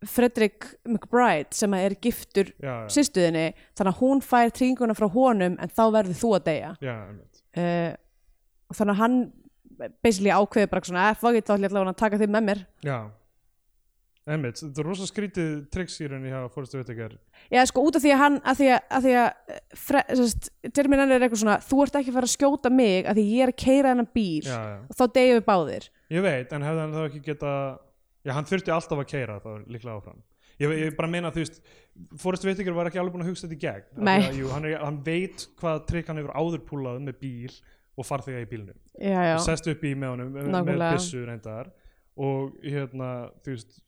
S2: Frederick McBride sem að er giftur
S1: já, já,
S2: sýstuðinni, þannig að hún fær trygginguna frá honum en þá verður þú að deyja
S1: já, einmitt.
S2: uh, og þannig að hann basically ákveður bara svona, ef vagið þá ætla ég allavega að taka þig með mér
S1: já einmitt, þetta er rosa skrítið tricks í rauninni hjá Forrest Whitaker
S2: Já, sko, út af því að hann, að því að, að, því að eh, fre, sest, Jeremy Renner er eitthvað svona, þú ert ekki að fara að skjóta mig að því ég er að keira hennan bíl
S1: já, já.
S2: og þá deyjum við báðir.
S1: ég veit, en hefði hann þá ekki geta já, hann þurfti alltaf að keira þá líklega áfram ég, ég bara meina, þú veist Forrest Whitaker var ekki alveg búin að hugsa þetta í gegn Af því
S2: Nei.
S1: að, jú, hann, er, hann veit hvað trikk hann hefur áður púlað með bíl og farþega í bílnum
S2: Já, já,
S1: og sest upp í með honum með- með
S2: Nákvæmlega.
S1: byssu reyndar og hérna þú veist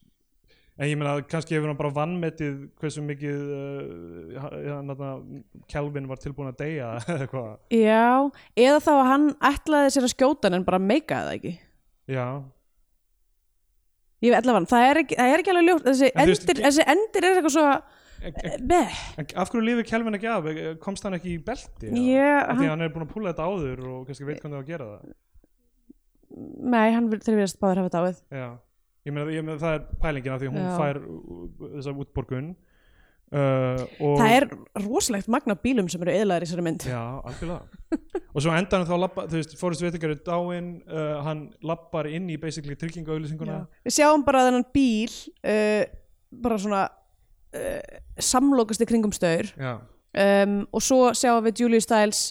S1: en ég meina kannski hefur hann bara vannmetið hversu mikið uh, hann, hann, Kelvin var tilbúin að deyja eða eitthvað
S2: já, eða þá að hann ætlaði sér að skjóta hann en bara meikaði það ekki.
S1: já,
S2: Ég veit allavega, það er ekki, það er ekki alveg ljótt, þessi
S1: En þú veist, Eh,
S2: endir,
S1: ge-
S2: þessi endir er eitthvað svo,
S1: en, en,
S2: beh,
S1: en, af hverju lifir Kelvin ekki af komst hann ekki í belti eða?
S2: ég,
S1: Af því að
S2: hann,
S1: hann er búin að púla þetta áður og kannski veit hvernig það á að gera það
S2: nei, hann vil- þeir verðast báður hafa dáið
S1: Já, ég meina, ég meina það er pælingin af því að hún
S2: Já.
S1: fær uh, þessa útborgun uh, og,
S2: það er rosalegt magna bílum sem eru eðlaðir í þessari mynd
S1: Já, algjörlega Og svo á endanum þá labba, þú veist, Forrest Whitaker er dáinn uh, hann labbar inn í basically tryggingauðlýsinguna
S2: Já. við sjáum bara þennan bíl uh, bara svona uh, samlokast í kringum staur
S1: Já,
S2: um, og svo sjáum við Julie Stiles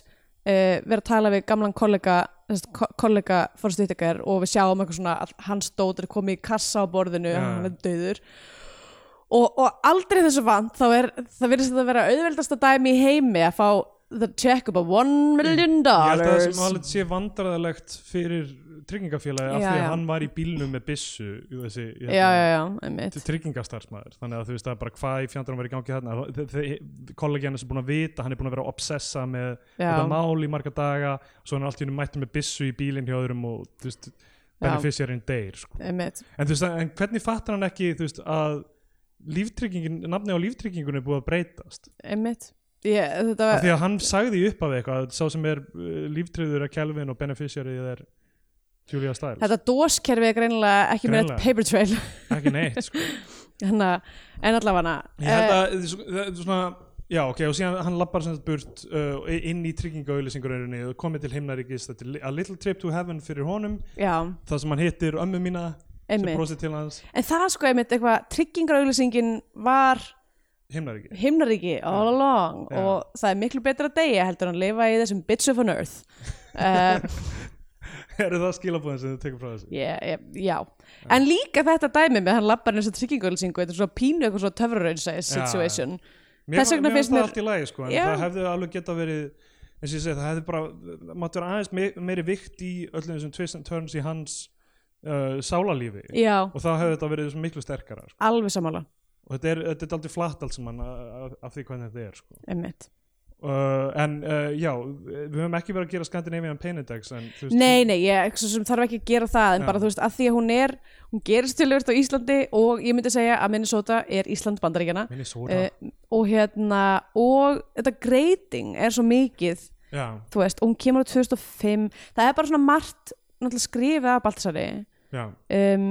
S2: uh, vera að tala við gamlan kollega þess- ko kollega Forrest Whitaker og við sjáum eitthvað svona að hans dót er komið í kassa á borðinu
S1: Já.
S2: hann er döður og, og aldrei þessu vant þá er það virðist þetta að vera auðveldasta dæmi í heimi að fá the check up of one million
S1: ég held að það sem
S2: dollars
S1: alveg sé vandræðalegt fyrir tryggingafélagi af
S2: Já,
S1: því að
S2: já.
S1: hann var í bílnum með byssu í þessi, hérna, í
S2: já, já, já, einmitt
S1: tryggingastarfsmæður þannig að þú veist það er bara hvað í fjandarum verið í gangi þarna kollegi hann er búin að vita, hann er búin að vera að obsessa með þetta
S2: já,
S1: mál í marga daga svo hann er allt í hennu mættur með byssu í bílinn hjá öðrum og þú veist, beneficiarinn deyr sko.
S2: einmitt
S1: en, þú veist, en hvernig fattar hann ekki þú veist, að líftryggingin, nafni á líftryggingun er búið að breytast
S2: einmitt yeah, þetta
S1: af
S2: var,
S1: því að hann sagði upp af eitthvað að sá sem er uh, líftryggður er Kelvin og beneficiarið er Julia Stiles,
S2: þetta dóskerfi er greinilega ekki með
S1: Greinilega.
S2: neitt paper trail
S1: ekki neitt sko.
S2: Hanna, en allavega
S1: ég held að eh, svo- það er svona Já, ok, og síðan hann lappar sem þetta burt uh, inn í tryggingauðlýsingurauninni og komið til himnaríkis, þetta er li- a little trip to heaven fyrir honum,
S2: já,
S1: það sem hann hittir ömmu mína, sem
S2: einmitt
S1: brosið til hans
S2: En það sko einmitt eitthvað, tryggingarauglýsingin var
S1: himnaríki
S2: himnaríki all along
S1: Já.
S2: og það er miklu betra að deyja heldur en að lifa í þessum bitch of an earth. Uh,
S1: eru það skilabúðin sem þau tekur frá þessu
S2: yeah, yeah, já, en líka þetta dæmi með hann labbar eins og tryggingarauglýsingu, þetta er svo pínu eitthvað svo
S1: Já,
S2: töfraraunsæði
S1: já.
S2: situation.
S1: mér
S2: Þess vegna
S1: mér
S2: finnst
S1: það
S2: mér-
S1: allt í lagi sko, en
S2: Já.
S1: það hefði alveg geta verið eins og ég segi, það hefði bara mátt vera aðeins me meiri vikt í öllum þessum twist and turns í hans uh, sálalífi
S2: Já,
S1: og þá hefði þetta verið svo miklu sterkara sko.
S2: alveg sammála,
S1: og þetta er, þetta er aldrei flatt allt sem hann af, af því hvernig þetta er sko.
S2: einmitt.
S1: uh, en uh, já, við höfum ekki verið að gera Scandinavian Painitex en þú veist
S2: Nei, nei, ég ekki, sem þarf ekki að gera það en
S1: Já.
S2: bara þú veist, að því að hún er, hún gerist tilvert á Íslandi og ég myndi segja að Minnesota er Ísland bandaríkjana
S1: Minnesota
S2: uh, og hérna og þetta greiting er svo mikið
S1: já,
S2: þú veist, og hún kemur á 2005 það er bara svona margt náttúrulega skrifið af Baltasari
S1: já,
S2: um,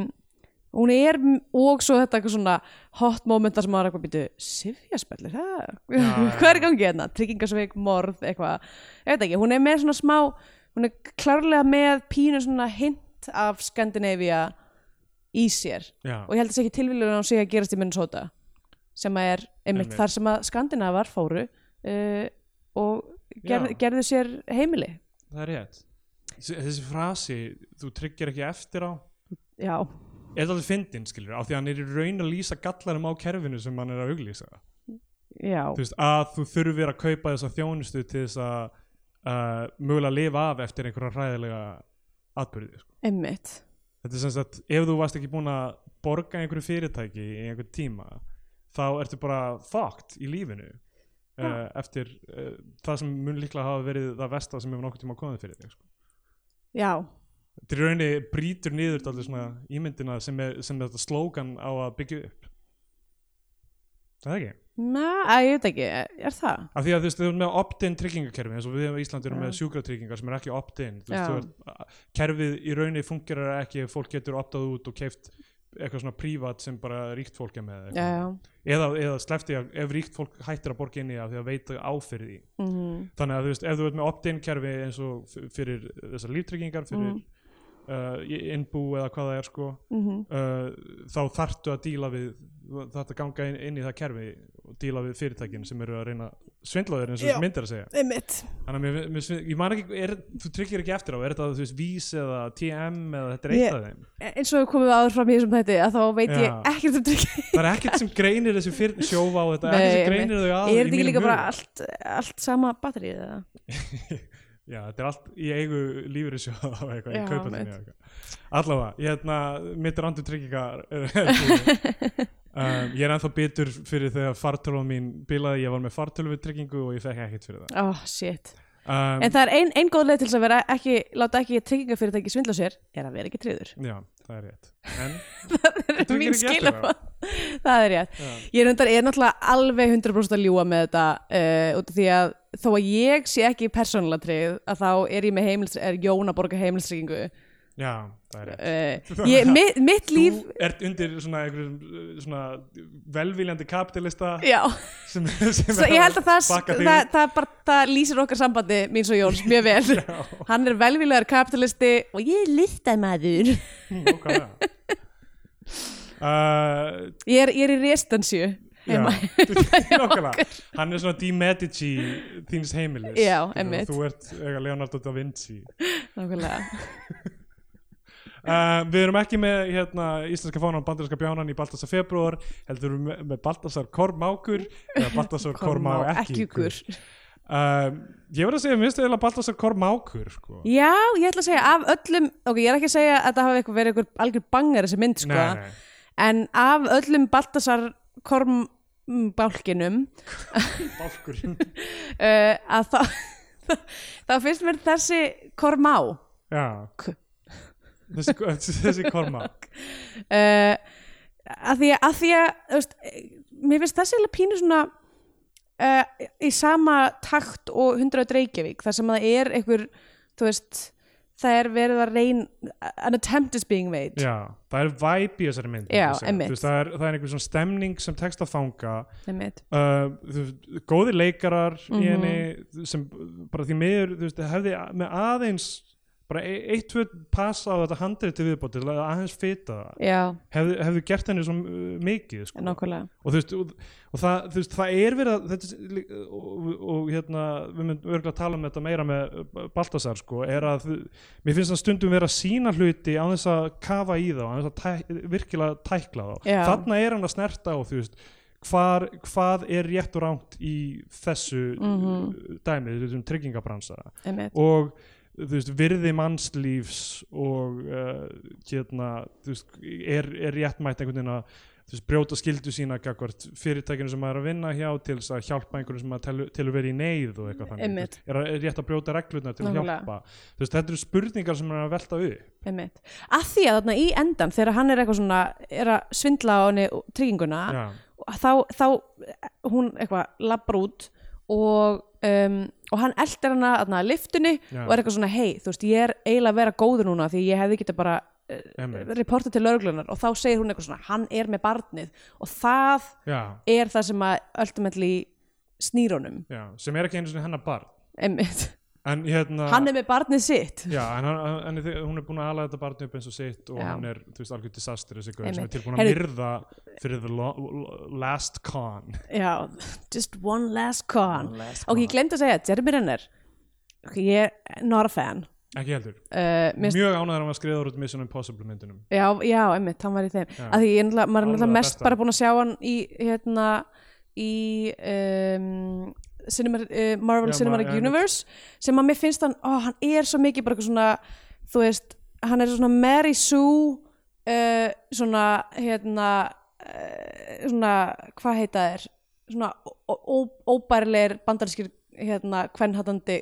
S2: hún er m- og svo þetta eitthvað svona hot moment þar sem maður er eitthvað býtu sifjaspellir, hæ?
S1: Já, já.
S2: hvað er í gangi hérna? tryggingasveik, morð, eitthvað ég veit ekki, hún er með svona smá hún er klárlega með pínu svona hint af Skandinavia í sér
S1: já,
S2: og ég held að það sé ekki tilvíðlega að hún sé að gerast í Minnesota sem að er einmitt
S1: Einmitt.
S2: þar sem að skandinavar fóru uh, og ger,
S1: Já.
S2: gerðu sér heimili
S1: það er rétt þessi þessi frasi, þú tryggir ekki eftir á
S2: já,
S1: er það alveg fyndin skilur á því að hann er í raun að lýsa gallarum á kerfinu sem hann er að auglýsa þú
S2: já,
S1: veist, að þú þurfir að kaupa þessa þjónustu til þess að uh, mögulega lifa af eftir einhverja hræðilega atbyrði sko.
S2: einmitt
S1: þetta er sem sagt, ef þú varst ekki búin að borga einhverju fyrirtæki í einhvern tíma þá ertu bara fucked í lífinu uh, eftir uh, það sem mun líklega hafa verið það versta sem hefur nokkuð tíma komið fyrir þig sko.
S2: já,
S1: þetta er í rauninni brýtur niður allir svona ímyndina sem, er, sem þetta slókan á að byggja upp það er ekki
S2: na, að, ég veit ekki er það?
S1: af því að þú veist, þú erum með opt-in tryggingakerfi eins og við á Íslandi erum
S2: Já.
S1: með sjúkratryggingar sem er ekki opt-in þú
S2: Já.
S1: veist, þú ert, kerfið í rauninni fungerar ekki ef fólk getur optað út og keift eitthvað svona prívat sem bara ríkt fólk er með
S2: já, já,
S1: eitthvað. eða, eða slefti að ef ríkt fólk hættir að borga inn í það því að veita áfyrði
S2: mm
S1: þannig að þú veist, ef þú ert með opt-in kerfi eins og f- fyrir þessar líftryggingar fyrir
S2: Mhm.
S1: uh, innbú eða hvað það er sko
S2: mhm,
S1: uh, þá þartu að díla við þartu að ganga inn, inn í það kerfi og díla við fyrirtækin sem eru að reyna svindlaður eins og
S2: Já.
S1: þessi myndir að segja
S2: einmitt
S1: þannig að mér, mér, svin- ég man ekki, er, þú tryggir ekki eftir á er þetta þú veist vís eða TM eða þetta er eitt
S2: Ég-
S1: af þeim
S2: eins og við komum áður fram í þessum þetta að þá veit ég
S1: Já.
S2: ekkert um tryggingar
S1: það er ekkert sem greinir þessi fyrir sjófa á þetta er
S2: Nei,
S1: ekkert sem
S2: einmitt.
S1: greinir þau að
S2: er þetta ekki líka bara allt, allt sama batterið eða?
S1: já, þetta er allt í eigu lífri sjófa á eitthvað,
S2: Já,
S1: ég kaupa
S2: einmitt.
S1: þetta eitthvað allavega, ég hérna, mitt randu tryggingar er- er búið. Um, ég er ennþá bitur fyrir þegar fartölva mín bilaði, ég var með fartölvu tryggingu og ég fekk ekkert fyrir það
S2: oh shit
S1: um,
S2: en það er ein, ein góð leið til þess að vera ekki láta ekki tryggingafyrirtæki svindla sér er að vera ekki tryggður
S1: Já, það er rétt En
S2: það
S1: Þetta
S2: er
S1: er ekki
S2: mín
S1: rétt að
S2: skilabóð það er rétt ég reyndar er náttúrulega alveg 100% að ljúa með þetta uh, út af því að þó að ég sé ekki persónulega tryggð að þá er ég með heimils er Jón að borga heimilstryggingu
S1: já, það er rétt
S2: uh, ég, mi- mitt líf
S1: Þú ert undir svona einhverjum uh, svona velviljandi kapitalista
S2: já,
S1: sem, sem
S2: svo ég held að það,
S1: baka þig
S2: það, það, bara, það lýsir okkar sambandi mín svo Jóns mjög vel
S1: Já,
S2: hann er velvílegar kapitalisti og ég er listamæður
S1: ok Hm, uh,
S2: ég er, ég er í restansju
S1: Já,
S2: heima
S1: nákvæmlega Hann er svona Di Medici þíns heimilis
S2: Já,
S1: Þú-
S2: einmitt.
S1: Þú ert eiga Leonardo da Vinci
S2: nákvæmlega
S1: uh, Við erum ekki með hérna, íslenska fánan bandarinska bjánan í Baltasar februar heldur við með, með Baltasar Kormákur eða Baltasar Kormá ekki
S2: ykkur
S1: uh, Ég verð að segja, minnst eða Baltasar Kormákur sko.
S2: já, ég ætla að segja af öllum ok, ég er ekki að segja að það hafi eitthvað verið eitthvað algjör bangar þessi mynd sko
S1: Nei, nei
S2: en af öllum Baltasar kormbálkinum
S1: Bálkur
S2: uh, að þá þá finnst mér þessi kormá
S1: Já
S2: K.
S1: Þessi, þessi korma
S2: uh, að því að, að, því að þú veist, eh, mér finnst þessi eiginlega pínu svona uh, í sama takt og 100 Reykjavík þar sem að það er einhver þú veist, það er verið að reyn an attempt is being made
S1: Já, það er væp í þessari mynd
S2: Já,
S1: myndi ég segja.
S2: einmitt.
S1: Þú veist, það, er, það er einhver svona stemning sem tekst að fanga
S2: einmitt,
S1: uh, þú veist, góði leikarar í henni sem bara því miður þú veist, hefði a- með aðeins bara e- eitt, tvö passa á þetta handrið til viðbóti, til að aðeins fita það
S2: já,
S1: hefðu, hefðu gert henni svo uh, mikið sko.
S2: nákvæmlega
S1: og, þú veist, og, og það, þú veist, það er verið að þetta, er lí- og, og, og hérna við myndum örgulega að tala um þetta meira með uh, Baltasar sko, er að þú- mér finnst það stundum vera að sína hluti á þess að kafa í þá, á þess að tæ, virkilega tækla þá,
S2: Já.
S1: þarna er hann að snerta á þú veist, hvar, hvað er rétt og rámt í þessu mm dæmi, þessum tryggingabransa
S2: einmitt,
S1: og þú veist, virði mannslífs og uh, hérna, þú veist, er, er réttmætt einhvern veginn að þú veist, brjóta skildu sína gagvart fyrirtækinu sem maður er að vinna hjá til þess að hjálpa einhverjum sem maður telur- telur verið í neyð og eitthvað þannig, Þú
S2: Einmitt.
S1: veist, er, að- er rétt að brjóta reglurnar til að
S2: Nákvæmlega.
S1: hjálpa þú veist, þetta eru spurningar sem maður er að velta upp
S2: einmitt að því að þarna í endan þegar hann er eitthvað svona er að svindla á henni trygginguna
S1: Já,
S2: þá, þá hún eitthvað labbar út og, um, og hann eldir hana þarna, að liftunni
S1: Já.
S2: og er eitthvað svona hei, þú veist, ég er eiginlega að vera góður núna því ég hefði geta bara uh,
S1: einmitt.
S2: reportað til lögreglunar og þá segir hún eitthvað svona hann er með barnið og það
S1: já,
S2: er það sem að ultimately snýr honum
S1: já, sem er ekki einu sinni hennar barn
S2: einmitt,
S1: en hérna
S2: hann er með barnið sitt
S1: Já, en, hann, en þi- hún er búin að ala þetta barni upp eins og sitt og
S2: Já.
S1: hann er, þú veist, algjör disaster þessi gaur sem er
S2: Einmitt.
S1: tilbúin að
S2: Heyrðu-
S1: myrða fyrir the lo, lo, last con
S2: Já, just one last con
S1: One last
S2: ok, ég glemd að segja, Jeremy Renner ok, ég er not a fan
S1: ekki heldur,
S2: uh, mér
S1: mjög ánæður hann var skriður út Mission Impossible myndunum
S2: Já, já, einmitt, hann var í þeim
S1: Já.
S2: að því ég er náttúrulega- maður er
S1: Alveg
S2: náttúrulega
S1: að
S2: mest
S1: besta.
S2: bara búin að sjá hann í hérna í um, Cinema, uh, Marvel
S1: Já,
S2: Cinematic
S1: ma- já, einmitt.
S2: Universe sem að mér finnst hann, ó, hann er svo mikið bara eitthvað svona, þú veist hann er svona Mary Sue uh, svona, hérna uh, svona, hvað heita þér svona ó- ó- óbærilegir bandarinskir hérna kvennhattandi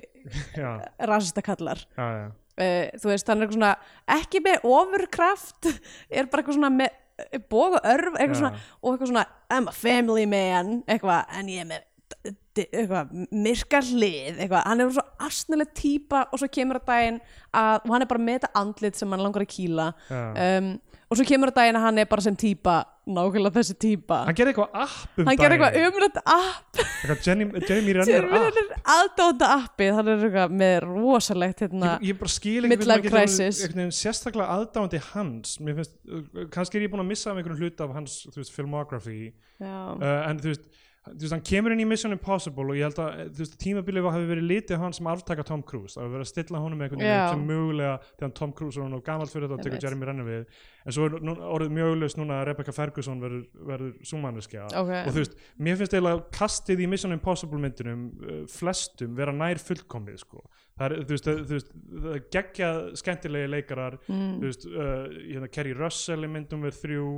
S1: Já,
S2: rasistakallar
S1: já, já,
S2: uh, þú veist, hann er eitthvað svona ekki með ofurkraft er bara eitthvað svona með bóga örf eitthvað
S1: Já.
S2: svona, og eitthvað svona I'm a family man, eitthvað en ég er með d- d- eitthvað, myrka hlið eitthvað, hann er svo astnileg típa og svo kemur að daginn að, og hann er bara með þetta andlit sem hann langar að kýla
S1: já.
S2: um, og svo kemur að daginn að hann er bara sem típa nákvæmlega þessi típa
S1: Hann gerði eitthvað app um
S2: hann gerir
S1: daginn.
S2: eitthvað umrætt app
S1: eitthvað Jenny, Jeremy
S2: sem
S1: Renner app
S2: er aðdóta appið hann er eitthvað með rosalegt hérna,
S1: Ég, ég bara skil ekki
S2: Midlife crisis.
S1: einhvern veginn sérstaklega aðdáandi hans Mér finnst, uh, kannski er ég búin að missa af einhvern hluta af hans þú veist, filmography
S2: já
S1: uh, en þú veist, þú veist, hann kemur inn í Mission Impossible og ég held að eh, þú veist, tímabilið hafi verið litið á hann sem arftaka Tom Cruise það hafi verið að stilla honum með einhvern
S2: Já.
S1: veginn sem mögulega þegar Tom Cruise er hann og gamalt fyrir þetta og tekur
S2: Einmitt.
S1: Jeremy Renner við en svo er nú, orðið mjög auðlust núna að Rebecca Ferguson verður, verður súmanniski
S2: Ok.
S1: og þú veist, mér finnst eiginlega kastið í Mission Impossible myndunum uh, flestum vera nær fullkomið sko. það er, þú veist, það- þú veist það er geggja skemmtilegi leikarar
S2: Mm.
S1: þú veist, uh, hérna Kerry Russell í myndum við þrjú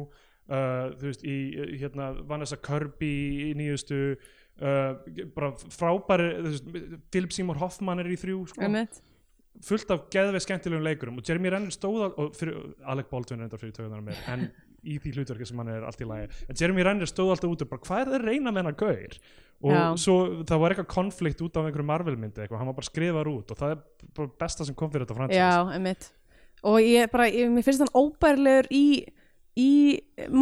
S1: uh, þú veist, í uh, hérna Vanessa Kirby í nýjustu uh, bara frábæri þú veist, Philip Seymour Hoffman er í þrjú sko,
S2: Einmitt.
S1: fullt af geðveið skemmtilegum leikurum og Jeremy Renner stóða og fyrir, Alec Baldwin reyndar fyrir tökunar mér en í því hlutverki sem hann er allt í lagi en Jeremy Renner stóð alltaf út og bara hvað er það að reyna með hennar gaur og
S2: Já.
S1: svo það var eitthvað konflikt út af einhverju Marvel myndi eitthvað, hann var bara skrifar út og það er bara besta sem kom fyrir þetta franchise
S2: Já, einmitt og ég bara, ég, mér finnst hann óbærilegur í, í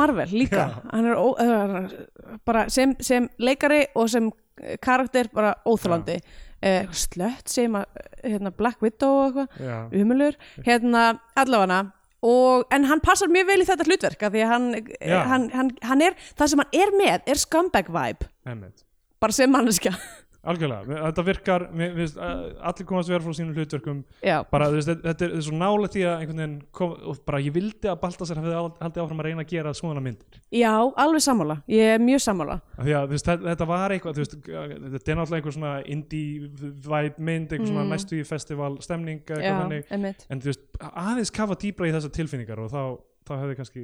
S2: Marvel líka
S1: Já.
S2: hann er ó, uh, bara sem, sem leikari og sem eh, karakter bara óþrólandi uh, slött sem að hérna, Black Widow og eitthvað
S1: Já.
S2: umulur, hérna allafana og, en hann passar mjög vel í þetta hlutverk af því að hann,
S1: Já.
S2: hann, hann, hann er það sem hann er með er scumbag vibe
S1: Einmitt.
S2: bara sem manneskja
S1: Algjörlega, mér- þetta virkar mér, mér, finnst, uh, allir komast vera frá sínum hlutverkum
S2: já,
S1: bara þú veist, þetta, þetta er þetta er svo nálega því að einhvern veginn kom, og bara ég vildi að Baltasar hefði al- haldið áfram að reyna að gera svona myndir
S2: já, alveg sammála ég er mjög sammála
S1: af því að þú veist, þetta, þetta var eitthvað þú veist, g- þetta er náttúrulega einhver svona indie vibe mynd, einhver svona næstu í festival stemning eða
S2: Mm. já,
S1: eitthvað þannig.
S2: einmitt
S1: en þú veist, aðeins kafa dýbra í þessar tilfinningar og þá, þá hefði kannski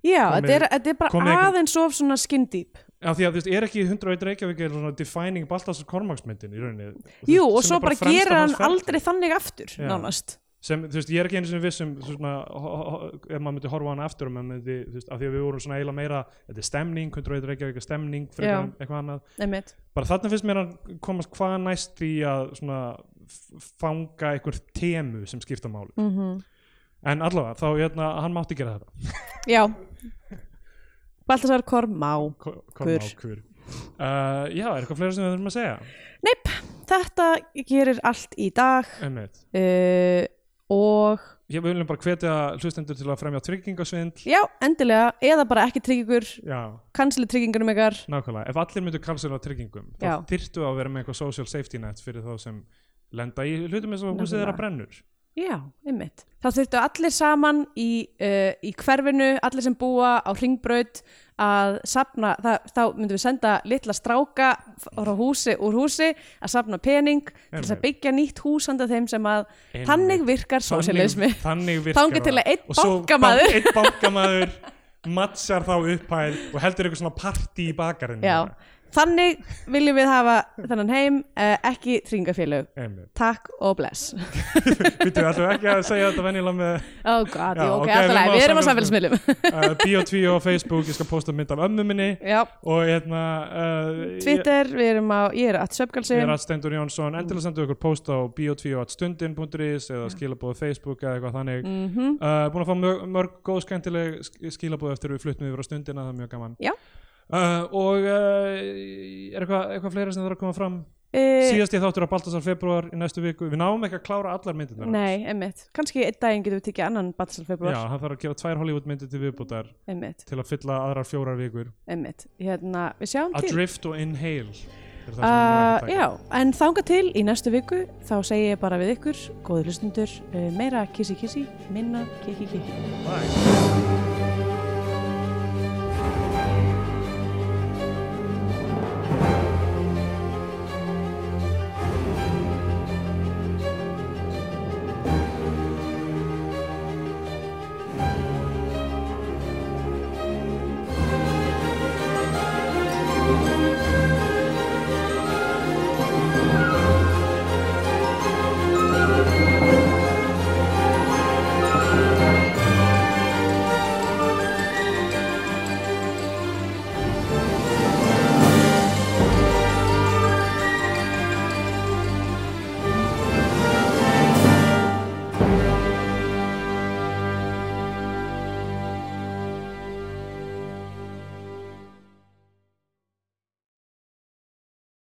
S2: já,
S1: Komið-
S2: þetta er, þetta er bara
S1: komið einhver-
S2: aðeins of svona skin deep
S1: af því að þú veist, er ekki 101 Reykjavík er svona defining Baltasar Kormaksmyndin í rauninni þú
S2: jú,
S1: veist,
S2: og
S1: sem
S2: svo
S1: er
S2: bara
S1: fremsta
S2: gerir
S1: hans
S2: hann
S1: ferli.
S2: aldrei þannig aftur nánast
S1: sem, þú veist, ég er ekki einu sinni viss um svona, ho- ho- ho- ef maður myndi horfa á hana aftur og maður myndi, þú veist, af því að við vorum svona eiginlega meira, þetta er stemning, hundur eitthvað ekki eitthvað stemning fyrir
S2: Já.
S1: eitthvað annað
S2: einmitt,
S1: bara þarna finnst mér hann komast hvað næst í að svona f- fanga einhver temu sem skipta máli
S2: mm
S1: en allavega, þá, hérna, hann mátti gera þetta
S2: já Baltasar Kormá
S1: Ko-
S2: Hver?
S1: Kormák, hver. Uh, já, er eitthvað fleira sem við þurfum að segja
S2: neip, þetta gerir allt í dag
S1: einmitt,
S2: uh, og
S1: ég viljum bara hvetja hlustendur til að fremja tryggingasvindl
S2: já, endilega, eða bara ekki tryggingur
S1: já,
S2: kansli tryggingunum ykkar
S1: Nákvæmlega, ef allir myndu kansela á tryggingum
S2: Já.
S1: þá þyrftu að vera með eitthvað social safety net fyrir þá sem lenda í hlutum eins og húsið
S2: Nákvæmlega.
S1: þeirra brennur
S2: já, einmitt þá þurftu allir saman í, uh, í hverfinu, allir sem búa á ringbraut að sapna það, þá myndum við senda litla stráka frá húsi, úr húsi að sapna pening til þess
S1: Einmitt.
S2: að byggja nýtt hús handa þeim sem að
S1: Einmitt.
S2: þannig virkar sósíalismi
S1: Þannig- Þannig virkar
S2: Þangað til að
S1: það.
S2: einn
S1: Og svo
S2: bankamaður-
S1: bank- Einn bankamaður mattsar þá upphæð og heldur eitthvað svona partí í bakarinn
S2: já, þannig viljum við hafa þennan heim, uh, ekki tryggingafélög
S1: Einmitt.
S2: takk og bless
S1: Býtu, ætlum við ekki að segja þetta venjulega með
S2: Oh god,
S1: Já,
S2: já, ok,
S1: ok,
S2: alltaf
S1: við erum á
S2: læg, við erum á
S1: samfélagsmiðlum.
S2: samfélagsmiðlum
S1: uh, Bio2 og Facebook, ég skal posta mynd af ömmu minni
S2: Já,
S1: og hérna uh, ég-
S2: Twitter, við erum á, ég er að
S1: Ég er
S2: söpgalsum
S1: að Stendur Jónsson, endilega sendu okkur post á bio2.stundin.is eða skilabóðu Facebook eða eitthvað þannig mm
S2: Mhm.
S1: -hmm. uh, Búin að fá mörg, mörg góð skemmtileg sk- skilaboð eftir við fluttum yfir á stundina, það er mjög gaman
S2: Já.
S1: uh, Og uh, er eitthvað, eitthvað fleira sem það er að koma fram?
S2: e,
S1: Síðast ég þáttur á Baltasar februar í næstu viku Við náum ekki að klára allar myndirnar hans.
S2: Nei, einmitt, kannski einn daginn getum við tekið annan Batsal februar,
S1: Já, hann þarf að gefa tvær Hollywood myndir til viðbútar
S2: einmitt,
S1: til að fylla aðrar fjórar vikur
S2: einmitt Hérna, við sjáum til
S1: Adrift og Inhale er það sem hann er að
S2: uh,
S1: taka.
S2: Já, en þanga til í næstu viku þá segi ég bara við ykkur, góðu hlustundur uh, meira kissi kissi, minna kiki kiki
S1: Bye.